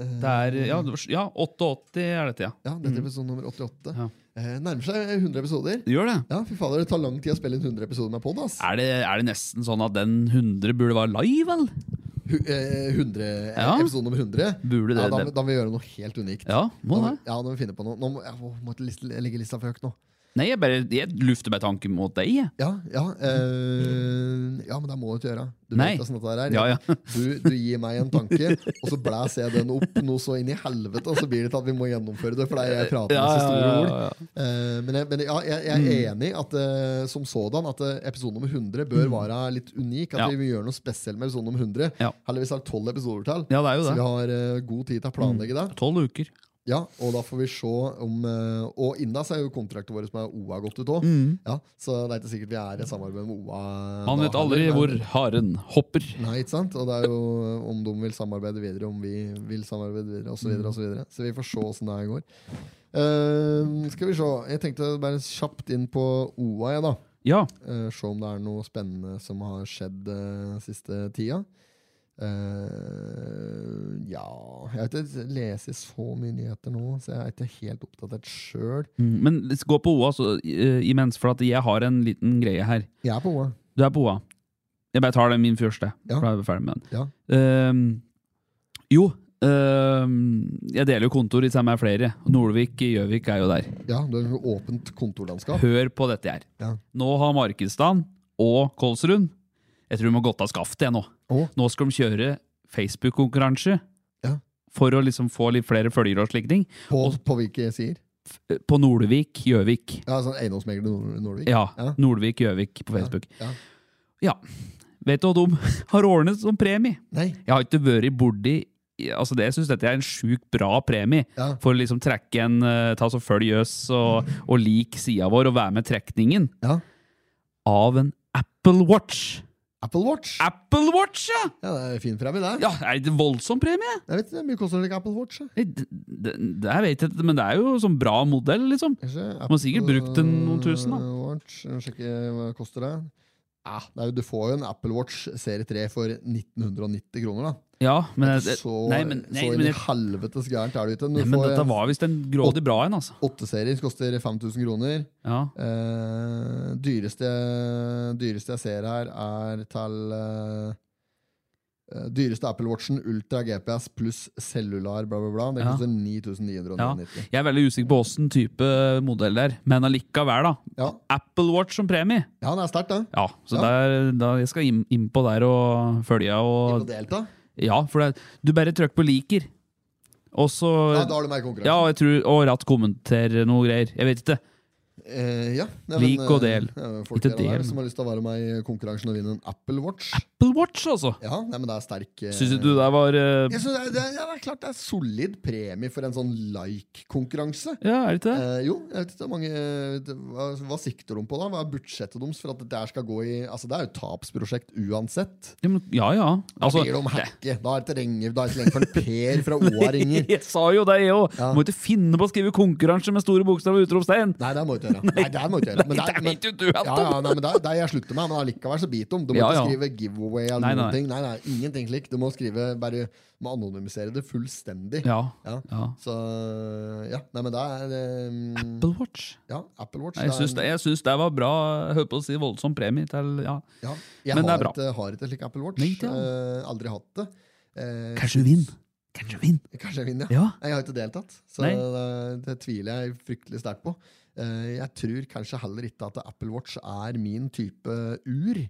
Eh,
det er, ja, det var- ja 88 er dette, ja.
Ja, dette er episode nummer 88.
Ja.
Eh, nærmer seg 100 episoder.
Det gjør det.
Ja, fy fader, Det tar lang tid å spille inn 100 episoder med pod. ass.
Er det, er det nesten sånn at den 100 burde være live, eller?
Hu- eh, 100, eh,
Ja.
Episode nummer 100.
Burde
Ja,
det-
da,
det-
må- da må vi gjøre noe helt unikt.
Ja, må
Da
det.
må- ja, da må vi finne på noe. Nå må, jeg må- måtte liste, legge lista for høyt nå.
Nei, jeg bare jeg lufter bare tanken mot deg. jeg.
Ja, ja, eh, ja men det må du ikke gjøre. Du
Nei.
vet hvordan dette her er.
Ja, ja.
Du, du gir meg en tanke, og så blæser jeg den opp noe så inn i helvete, og så blir det til at vi må gjennomføre det, for det er jeg prater med så store ord. Eh, men jeg, men ja, jeg, jeg
Mm.
er enig at eh, som sådan at eh, episode nummer 100 bør være litt unik. At
Mm. Ja.
vi vil gjøre noe spesielt med episode nummer 100.
Ja.
Heldigvis er det tolv episoder til,
Ja, det er
så
jo
vi
det. Mm.
har eh, god tid til å planlegge det.
Tolv uker.
Ja, Og da får vi se om eh, Og inna så er jo kontrakten vår med OA gått ut òg. Ja, så det er ikke sikkert vi er i samarbeid med OA.
Mm. Man
da
vet aldri
heller,
hvor
men-
haren hopper.
Nei, ikke sant? Og det er jo om de vil samarbeide videre, om vi vil samarbeide videre, osv. Så, videre, og så, videre. så vi får se åssen det her går. Eh, skal vi se. Jeg tenkte bare kjapt inn på OA, jeg, da.
Ja.
Eh, se om det er noe spennende som har skjedd eh, siste tida. Eh, ja Jeg har ikke lest så mye nyheter nå, så jeg er ikke helt oppdatert sjøl.
mm, Men let's gå på OA så, eh, imens, for at jeg har en liten greie her.
Jeg er på OA.
Du er på OA. Jeg bare tar den min første.
Ja.
For da er vi ferdig med den.
Ja.
Ehm, jo, ehm, jeg deler jo kontor i sammen med flere. Nordvik i Gjøvik er jo der.
Ja, du har et åpent kontorlandskap.
Hør på dette her.
Ja.
Nå har Markedsdagen og Kolsrund Jeg tror de har gått av skaftet jeg nå.
Å.
Nå skal de kjøre Facebook-konkurranse
Ja.
for å liksom få litt flere følgere og slike ting.
På, på hvilke sider?
På Nordvik, Gjøvik.
Ja, sånn Eiendomsmegler Nord- Nordvik?
Ja,
Ja.
Nordvik, Gjøvik på Facebook.
Ja.
Ja. Vet du hva de har ordnet som premie?
Nei?
Jeg har ikke vært borti Altså det, Jeg syns dette er en sjukt bra premie.
Ja.
For å liksom trekke en eh, Ta så Følg oss og, og lik sida vår og være med i trekningen
Ja.
av en Apple Watch.
Apple Watch!
Apple Watch, ja!
Ja, det er fin premie, det.
ja er det en voldsom premie?
Jeg vet ikke, Mye koster det ikke Apple Watch. jeg.
Nei, Det, det, det jeg vet jeg ikke, men det er jo sånn bra modell, liksom.
Kanskje
Man har sikkert
Apple
brukt den noen tusen, da.
Watch, jeg må sjekke eh, hva det koster det. Ja, det er jo, du får jo en Apple Watch serie 3 for 1990 kroner, da.
Ja, men jeg-
Så,
Nei, men, nei,
så inn
men,
i
jeg,
helvetes gærent er det ikke. Du
nei, men
får
dette
en
var visst en grådig bra en, altså.
åtteserier som koster 5000 kroner.
Ja.
Eh, dyreste, dyreste jeg ser her, er til eh, eh, Dyreste Apple Watchen, Ultra GPS pluss cellular, bla, bla, bla. Det
Ja.
koster 9999.
Jeg er veldig usikker på åssen type modell det er, men allikevel, da.
Ja.
Apple Watch som premie!
ja, det er sterkt, det.
Ja, så
Ja.
Der, da, jeg skal inn- innpå der og følge
Ikke å
og
delta.
Ja, for det, du bare trykker på 'liker', og så
Ja, da har du meg i konkurranse.
Ja, og jeg tror, og Ratt kommenterer noe greier. Jeg vet ikke.
Eh, ja. Nei,
Lik
men,
og
eh,
del.
ja, men Folk
Ikke
er der
del.
som har lyst til å være med i konkurransen og vinne en Apple Watch.
Apple Watch, altså!
Ja, nei, men det er sterk eh,
Syns du det var eh,
Jeg synes det, er- det, er- ja, det er klart det er solid premie for en sånn like-konkurranse.
Ja, er det ikke det?
Eh, jo, jeg vet ikke hvor mange eh, det- hva, hva sikter de på da? Hva er budsjettet deres for at det der skal gå i Altså, det er jo et tapsprosjekt uansett.
Ja, men- Ja ja.
da
Altså,
blir de hacke. Da er det ikke ringer, da er det ikke lenger for en Per fra OA ringer.
jeg sa jo det, jeg òg!
Ja.
Må ikke finne på å skrive 'konkurranse' med store bokstaver og utropstegn!
Nei, det må du ikke gjøre. Nei, det må du ikke gjøre. Men
Nei, det vet jo du alt
ja,
om.
ja, nei, men det, det jeg slutter med, men allikevel så biter de. Du må
Ja,
ikke
ja.
skrive giveaway eller
Nei,
noen
nei.
ting. Nei, nei, ingenting slik. Du må skrive bare du må anonymisere det fullstendig.
Ja.
Ja.
ja.
Så ja, nei, men det er um,
Apple Watch.
Ja, Apple Watch.
Nei, Jeg syns det, jeg syns det var bra. Jeg Hørte på å si voldsom premie til ja.
Ja, jeg
men det er
har
bra.
Ikke, har ikke slik Apple Watch.
Nei, ikke jeg.
Eh, aldri hatt det. Eh,
Kanskje vinn. Kanskje vinn.
Kanskje jeg vinner,
Ja.
Nei, Jeg har ikke deltatt, så
Nei.
det, det tviler jeg fryktelig sterkt på. Eh, jeg tror kanskje heller ikke at Apple Watch er min type ur.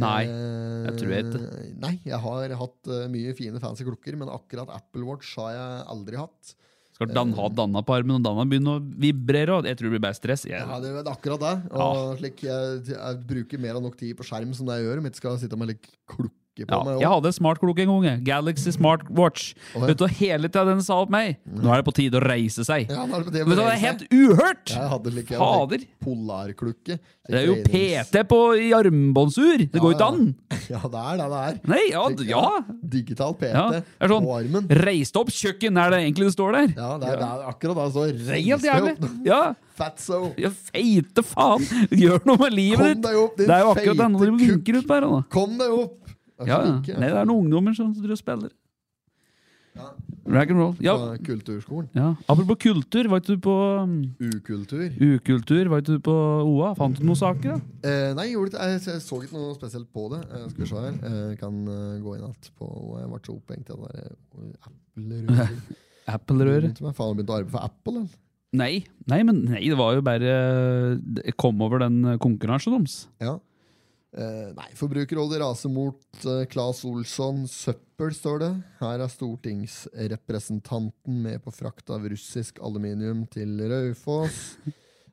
Nei,
Eh,
jeg tror ikke.
Nei, jeg har hatt eh, mye fine fancy klokker, men akkurat Apple Watch har jeg aldri hatt.
Klart, Dan har danna på armen, og danna begynner å vibrere. Og jeg tror det blir bare stress. Jeg,
Ja, det er vel akkurat det. Og slik jeg, jeg bruker mer enn nok tid på skjerm som det jeg gjør, om jeg ikke skal sitte med litt klukke på
ja,
meg.
jeg
også.
hadde smartklokke en gang. jeg. Galaxy Smart Watch.
Åh, ja.
Vet du, og hele tida den sa opp meg. Nå er det på tide å reise seg.
Ja, nå er det på tide å
Vet du, Det
bevege
er
seg.
helt uhørt!
Jeg hadde like, jeg hadde
Fader!
polarklukke.
Det er jo
Trenings-
PT på i armbåndsur! Det går jo ikke an!
Ja, det er det det er.
Nei, ja,
Slik,
ja.
Digital PT
ja. Det er
på
sånn
armen.
Reist opp kjøkken, er det egentlig det står der?
Ja, det er, det er akkurat da. Så
Helt
reis deg
jævlig!
opp.
Ja,
Fatso.
ja feite faen! Gjør noe med livet
Kom
ditt!
deg opp, din
Det er jo akkurat det
feite
når de
kukk.
vinker ut der. Da.
Kom deg opp! Det er
Ja, ja.
så like.
Nei, det er noen ungdommer som driver og spiller. Rag and roll. Ja.
På Kulturskolen.
ja. Apropos kultur, var ikke du på um,
Ukultur.
ukultur? Var ikke du på OA? Fant du noen saker, da?
Eh, nei, jeg, gjorde ikke, jeg, jeg så ikke noe spesielt på det. Eh, skal vi se her. Eh, jeg kan eh, gå inn alt på Jeg ble så opphengt i den der eh, Apple-røret.
Apple-røret?
Begynte med- Faen, jeg begynte å arbeide for Apple. altså. eller?
Nei. Nei, men nei, det var jo bare Jeg kom over den konkurransen deres.
Ja. Eh, nei, Forbrukerrådet raser mot eh, Claes Olsson. Søppel, står det. Her er stortingsrepresentanten med på frakt av russisk aluminium til Raufoss.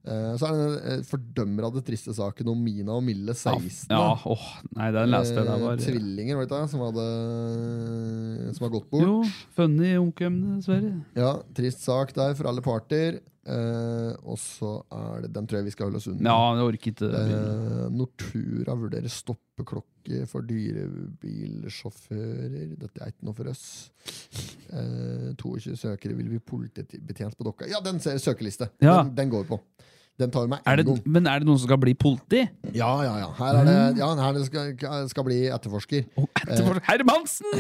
Eh, så er det den eh, fordømmer av det triste saken om Mina og Mille 16.
Ja, åh, nei, den leste jeg. Det
Eh,
var
Tvillinger, var det ikke det? Som, hadde, som har gått bort.
Jo, funny omkomne, dessverre.
Ja, Trist sak der for alle parter. Eh, og så er det Den tror jeg vi skal holde oss unna.
Ja, jeg orker ikke.
Eh, Nortura vurderer stoppeklokke for dyrebilsjåfører. Dette er ikke noe for oss. Eh, 22 søkere vil bli politibetjent på Dokka. Ja, den ser- søkeliste!
Ja.
Den, den går vi på. Den tar vi med
Er
en
det,
gang.
men er det noen som skal bli politi?
Ja, ja, ja. Her er det,
Mm.
ja, her det skal, skal bli etterforsker.
Å, etterfor Hermansen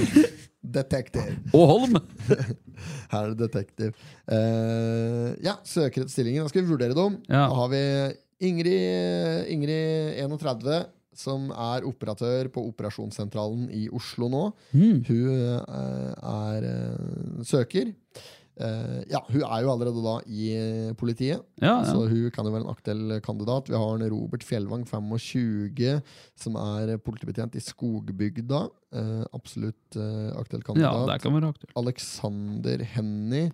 Detektiv.
og Holm!
Her er det detektiv. Eh, ja, søker etter stillingen. Da skal vi vurdere dem.
Ja.
Da har vi Ingrid, eh, Ingrid 31, som er operatør på operasjonssentralen i Oslo nå.
Hmm, Mm.
Hun eh, er eh, søker. Eh, ja, hun er jo allerede da i eh, politiet,
Ja, ja.
så hun kan jo være en aktuell kandidat. Vi har en Robert Fjellvang, 25, som er politibetjent i Skogbygda. Eh, absolutt eh, aktuell
Ja,
kandidat.
der kan være aktuelt.
Alexander Henny.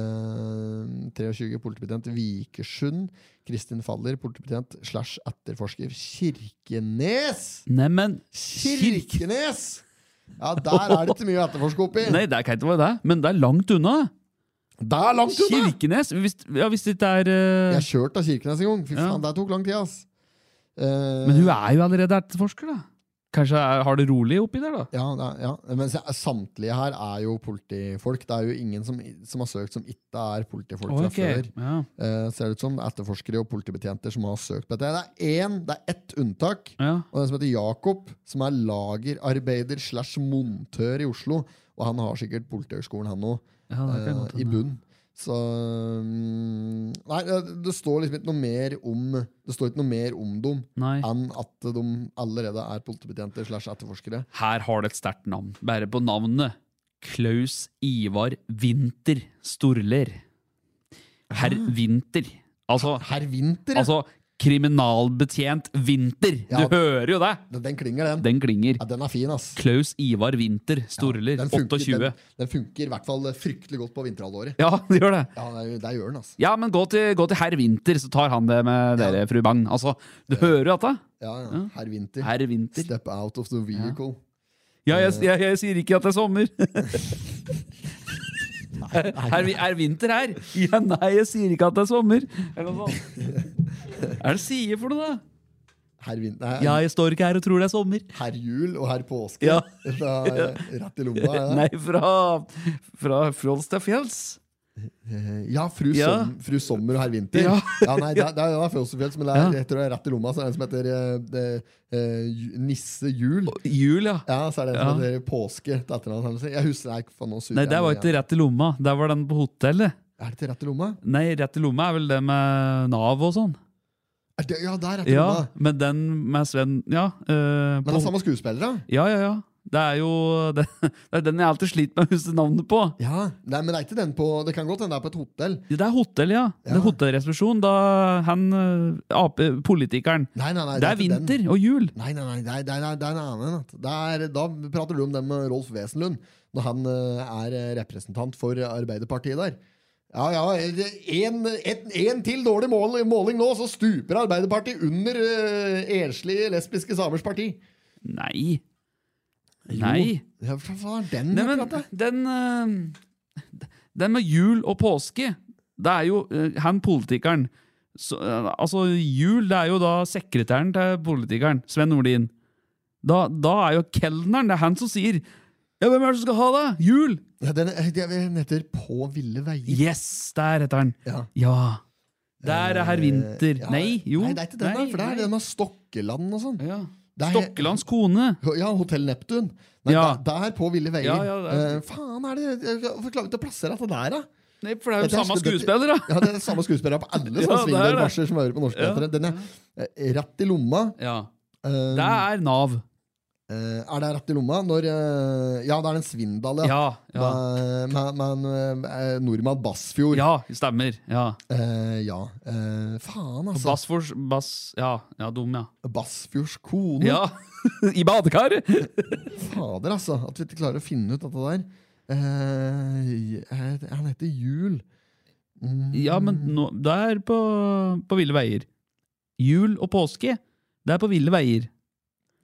eh, 23 politibetjent Vikersund. Kristin Faller, politibetjent slash etterforsker Kirkenes!
Neimen kirk...
Kirkenes! Ja, der er det ikke mye å etterforske oppi.
Nei, det kan ikke være det, men det er langt unna.
Det er langt unna!
Kirkenes? Hvis, ja, hvis det ikke er eh,
Jeg kjørte av Kirkenes en gang. Fy
Ja.
faen, det tok lang tid, ass. Eh,
Men hun er jo allerede etterforsker, da. Kanskje er, har det rolig oppi der, da?
Ja, det er- ja. Men se, samtlige her er jo politifolk. Det er jo ingen som, som har søkt som ikke er politifolk fra
Ok,
før.
Ja.
Eh, ser det ut som etterforskere og politibetjenter som har søkt på dette. Det er én, det er ett unntak.
Ja.
Og den som heter Jakob, som er lagerarbeider slash montør i Oslo. Og han har sikkert Politihøgskolen, han òg,
Ja, det kan godt
eh, i
hende.
bunn. Så mm, Nei, det- det står liksom ikke noe mer om Det står ikke noe mer om dem
Nei.
enn at de allerede er politibetjenter slash etterforskere.
Her har det et sterkt navn. Bare på navnet. Klaus Ivar Winter Storler. Herr
Ah.
Winter. Altså,
Herr Winter, ja.
altså kriminalbetjent Winter. Du
Ja.
hører jo det!
den, den klinger, den.
Den klinger.
Ja, den er fin, ass.
Klaus Ivar Winter Storler.
Den funker,
28.
den, den funker i hvert fall fryktelig godt på vinterhalvåret.
Ja, det gjør det.
Ja, det, det gjør den, altså.
Ja, men gå til, gå til herr Winter, så tar han det med
Ja.
dere, fru Bang. Altså, du hører jo dette?
Ja, ja. Herr Winter.
Herr Winter.
Step out of the vehicle.
Ja, jeg, jeg, jeg sier ikke at det er sommer. Er, er vinter her? Ja, nei, jeg sier ikke at det er sommer. Eller noe sånt. Hva er det du sier for noe, da?
Herr Winter. Nei,
Ja, jeg står ikke her og tror det er sommer.
Herr Jul og herr Påske.
Ja.
Fra, eh, rett i lomma. Ja,
Nei, fra, fra fjols til fjells.
ja, fru,
Ja.
Som, fru Sommer og herr Winter.
Ja.
nei, det, er- det er Fjellsfjells, men det
Ja.
er, jeg tror det er rett i lomma. Så er det en som heter eh, det, eh, Ju- Nisse Jul.
Jul, ja.
Ja, så er det en som
Ja.
heter Påske til etternavn. eller noe sånt. Jeg husker nei, faen, nå suger
Nei,
jeg
der var
meg
ikke rett i lomma. Der var den på hotellet.
igjen. Er det til rett i lomma?
Nei, rett i lomma er vel det med Nav og sånn.
Er det, ja, det er rett i lomma.
Ja, men den med Sven Ja. eh,
Men det
på,
er samme skuespillere.
ja, ja, ja. Det er jo det, det er den jeg alltid sliter med å huske navnet på.
Ja. Nei, men det er ikke den på Det kan godt hende det er på et hotell.
Det er hotell, ja. Det
Ja.
er hotellresepsjon. Da han eh, ap politikeren
Nei, nei, nei,
Det er
ikke den.
vinter og jul.
Nei, nei, nei, det er, det er, det er en annen. at Det er, da prater du om den med Rolf Wesenlund, når han eh, er representant for eh, Arbeiderpartiet der. Ja, ja, en, et, en til dårlig mål, måling nå, så stuper Arbeiderpartiet under uh, enslige lesbiske samers parti.
Nei. Nei.
Ja, hva var den?
Nei, men
akkurat da?
den, eh, den med jul og påske, det er jo eh, han politikeren så, eh, Altså, jul, det er jo da sekretæren til politikeren, Sven Nordin. Da, da er jo kelneren, det er han som sier Ja, hvem er det som skal ha det? Jul!
Ja, den, den heter På ville veier.
Yes! Der heter han.
Ja. Eh,
Ja. Der er herr Winter.
Ja,
Nei, jo.
Nei, det er ikke den, da, for det
nei.
er den med Stokkeland og sånn.
ja.
Det er-
Stokkelands kone.
Ja, Hotell Neptun. Nei,
Ja.
da- Der, på ville veier.
Ja, ja, det er-
Eh, faen, er det Hvorfor klarer vi ikke å plassere dette der, da?
Nei, for det er jo
Dette er-
samme
dette-
skuespiller, da.
Ja, det er samme skuespillere på alle sånne
Ja, det er det.
svingdørmarsjer som hører på norske
Ja.
teatre. Den er eh, rett i lomma.
Ja.
Eh,
Det er Nav.
eh, er det rett i lomma når eh, Ja, det er den Svindal, ja.
Ja. ja.
Med, med, med, eh, nordmann Bassfjord.
Ja, stemmer. Ja.
Eh, ja. Eh, faen, altså.
Bassfors Bass... Ja, ja dum, ja.
Bassfjords kone.
Ja, I badekar!
Fader, altså. At vi ikke klarer å finne ut dette der. Eh, eh, han heter Jul.
Ja, men nå, det er på, på ville veier. Jul og påske, det er på ville veier.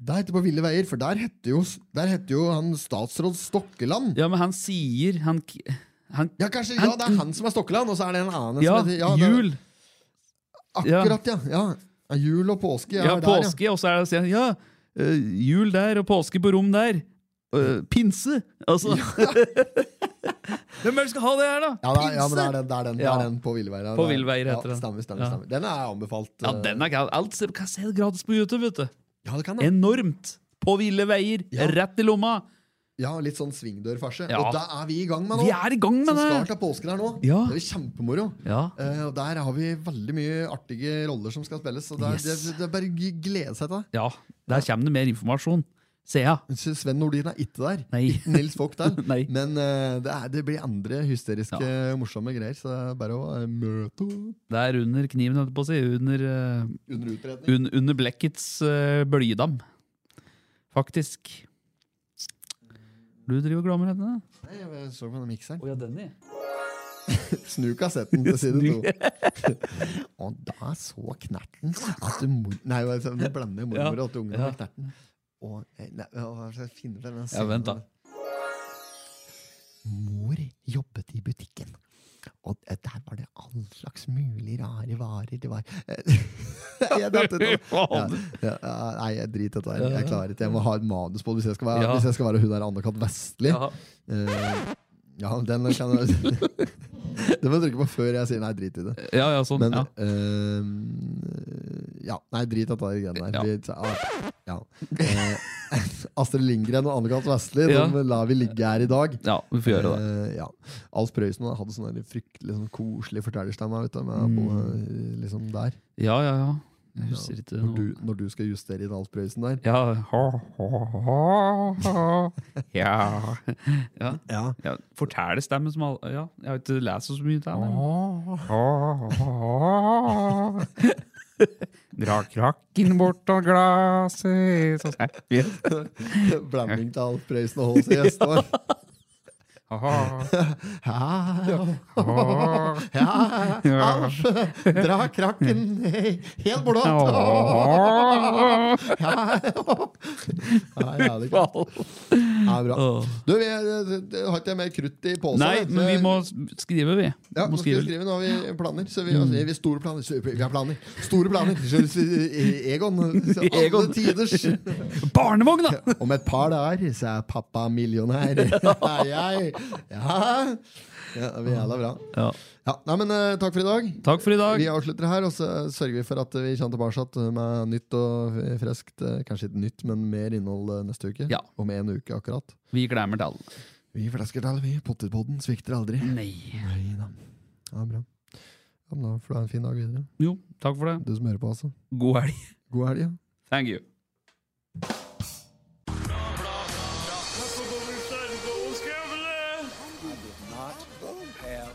Det heter På ville veier, for der heter jo, der heter jo han statsråd Stokkeland.
Ja, men han sier Han, han
Ja, kanskje, ja, det er han som er Stokkeland, og så er det en annen
Ja,
som heter det er-
jul.
Akkurat, ja. ja. Ja, Jul og påske. Ja,
Ja,
der,
påske, og så er det sier han, Ja, eh, jul der og påske på rom der. Eh, pinse! Altså Hvem er det som skal ha det her, da?
Ja, det er, ja, men det er den, det er den, det
Ja.
er den på Villeveier.
På Villeveier heter
ja,
den.
Stemmer, stemmer,
Ja.
stemmer. Den er anbefalt.
Ja,
eh,
den er gal. Alt ser, kan se gratis på YouTube, vet du.
ja, det kan det.
Enormt! På ville veier,
Ja.
rett i lomma.
Ja, litt sånn svingdørfarse.
Ja.
Og det er vi i gang med nå.
Vi er i gang
Som
med
start
det!
av påsken her nå.
Ja.
Det er kjempemoro.
Ja.
Eh, og der har vi veldig mye artige roller som skal spilles. Så det er,
Yes.
det, det er bare å glede seg til det.
ja, der kommer det mer informasjon. Ser jeg.
Så Sven Nordin er ikke der.
Nei.
Ikke Nils Vogt der.
Nei.
Men eh, det, er, det blir andre hysteriske, morsomme greier. Så det er bare å eh, møte opp
Det er under kniven, holdt jeg på å si. Under, eh,
under utredning.
un, under blekkets eh, blydam. Faktisk. Du driver og glemmer henne?
Nei, jeg så på den mikseren.
Å ja, Denny.
Snu kassetten til side to. og da så Knerten at mor... Nei, altså, nå blander jeg mormor
Ja.
og at ungene
Ja.
med Knerten. Og, eh, nei, å, hva skal jeg finne frem den
Ja, vent da.
Mor jobbet i butikken. Og eh, der var det all slags mulig rare varer. Det var eh, jeg datt ut nå. ja, ja, ja, Nei, jeg driter i dette. her. Jeg klarer ikke. Jeg må ha et manus på det hvis jeg skal være,
Ja.
hvis jeg skal være hun der Anne-Kat. Vestli.
Ja.
Eh, ja, den kan jeg Det må jeg trykke på før jeg sier nei, drit i det.
ja, ja, sånn.
Men
ja.
eh, ja, nei, drit i at det er greiene
Ja.
der. Vi- ah, ja. Eh, Astrid Lindgren og Anne-Kat. Vestli
Ja.
dem lar vi ligge her i dag.
ja, vi får gjøre det.
Eh, ja. Alf Prøysen han hadde sånn der fryktelig sånn koselig fortellerstemme. Vet du, med, på, eh, liksom der.
Ja, ja, ja. Mm. Jeg husker ikke
Når,
noe.
du, når du skal justere inn Alf Prøysen der.
Ja. Ha, ha, ha, ha. Ja. ja.
Ja.
Ja, Fortellerstemmen som alle Ja, jeg har ikke lest så mye til henne. Dra krakken bort av glasset så ser vi.
Blanding til Alf Prøysen og H.C. Gjestvang. Ja. Ja, Alf, dra krakken helt blått. Ja, ja, det er klart. Ja, bra. Du, vi eh, har ikke mer krutt i posen.
Nei,
vet du.
men vi må s- skrive, vi.
ja,
må
nå skal vi
skrive. Mm.
skrive, Nå har vi planer. Så vi, altså, vi har store planer. Så vi har planer. Store planer. Så, så, Egon. Så alle
Egon.
tiders.
Barnevogn, da!
Om et par dager så er pappa millionær. Hei, hei. Ja. ja, vi er jævla bra.
Ja.
Ja, nei, men eh, Takk for i dag.
Takk for i
Vi
dag.
avslutter her, og så eh, sørger vi for at vi kommer tilbake med nytt og friskt. eh, Kanskje ikke nytt, men mer innhold eh, neste uke.
Ja.
Om en uke, akkurat.
Vi glemmer til alle.
Vi flasker til, vi. Pottetpodden svikter aldri.
Nei.
Nei da. Ja, bra. Ja, men da får du ha en fin dag videre.
Jo, takk for det.
Du som hører på, altså.
God helg.
God helg. Ja.
Thank you.
Not have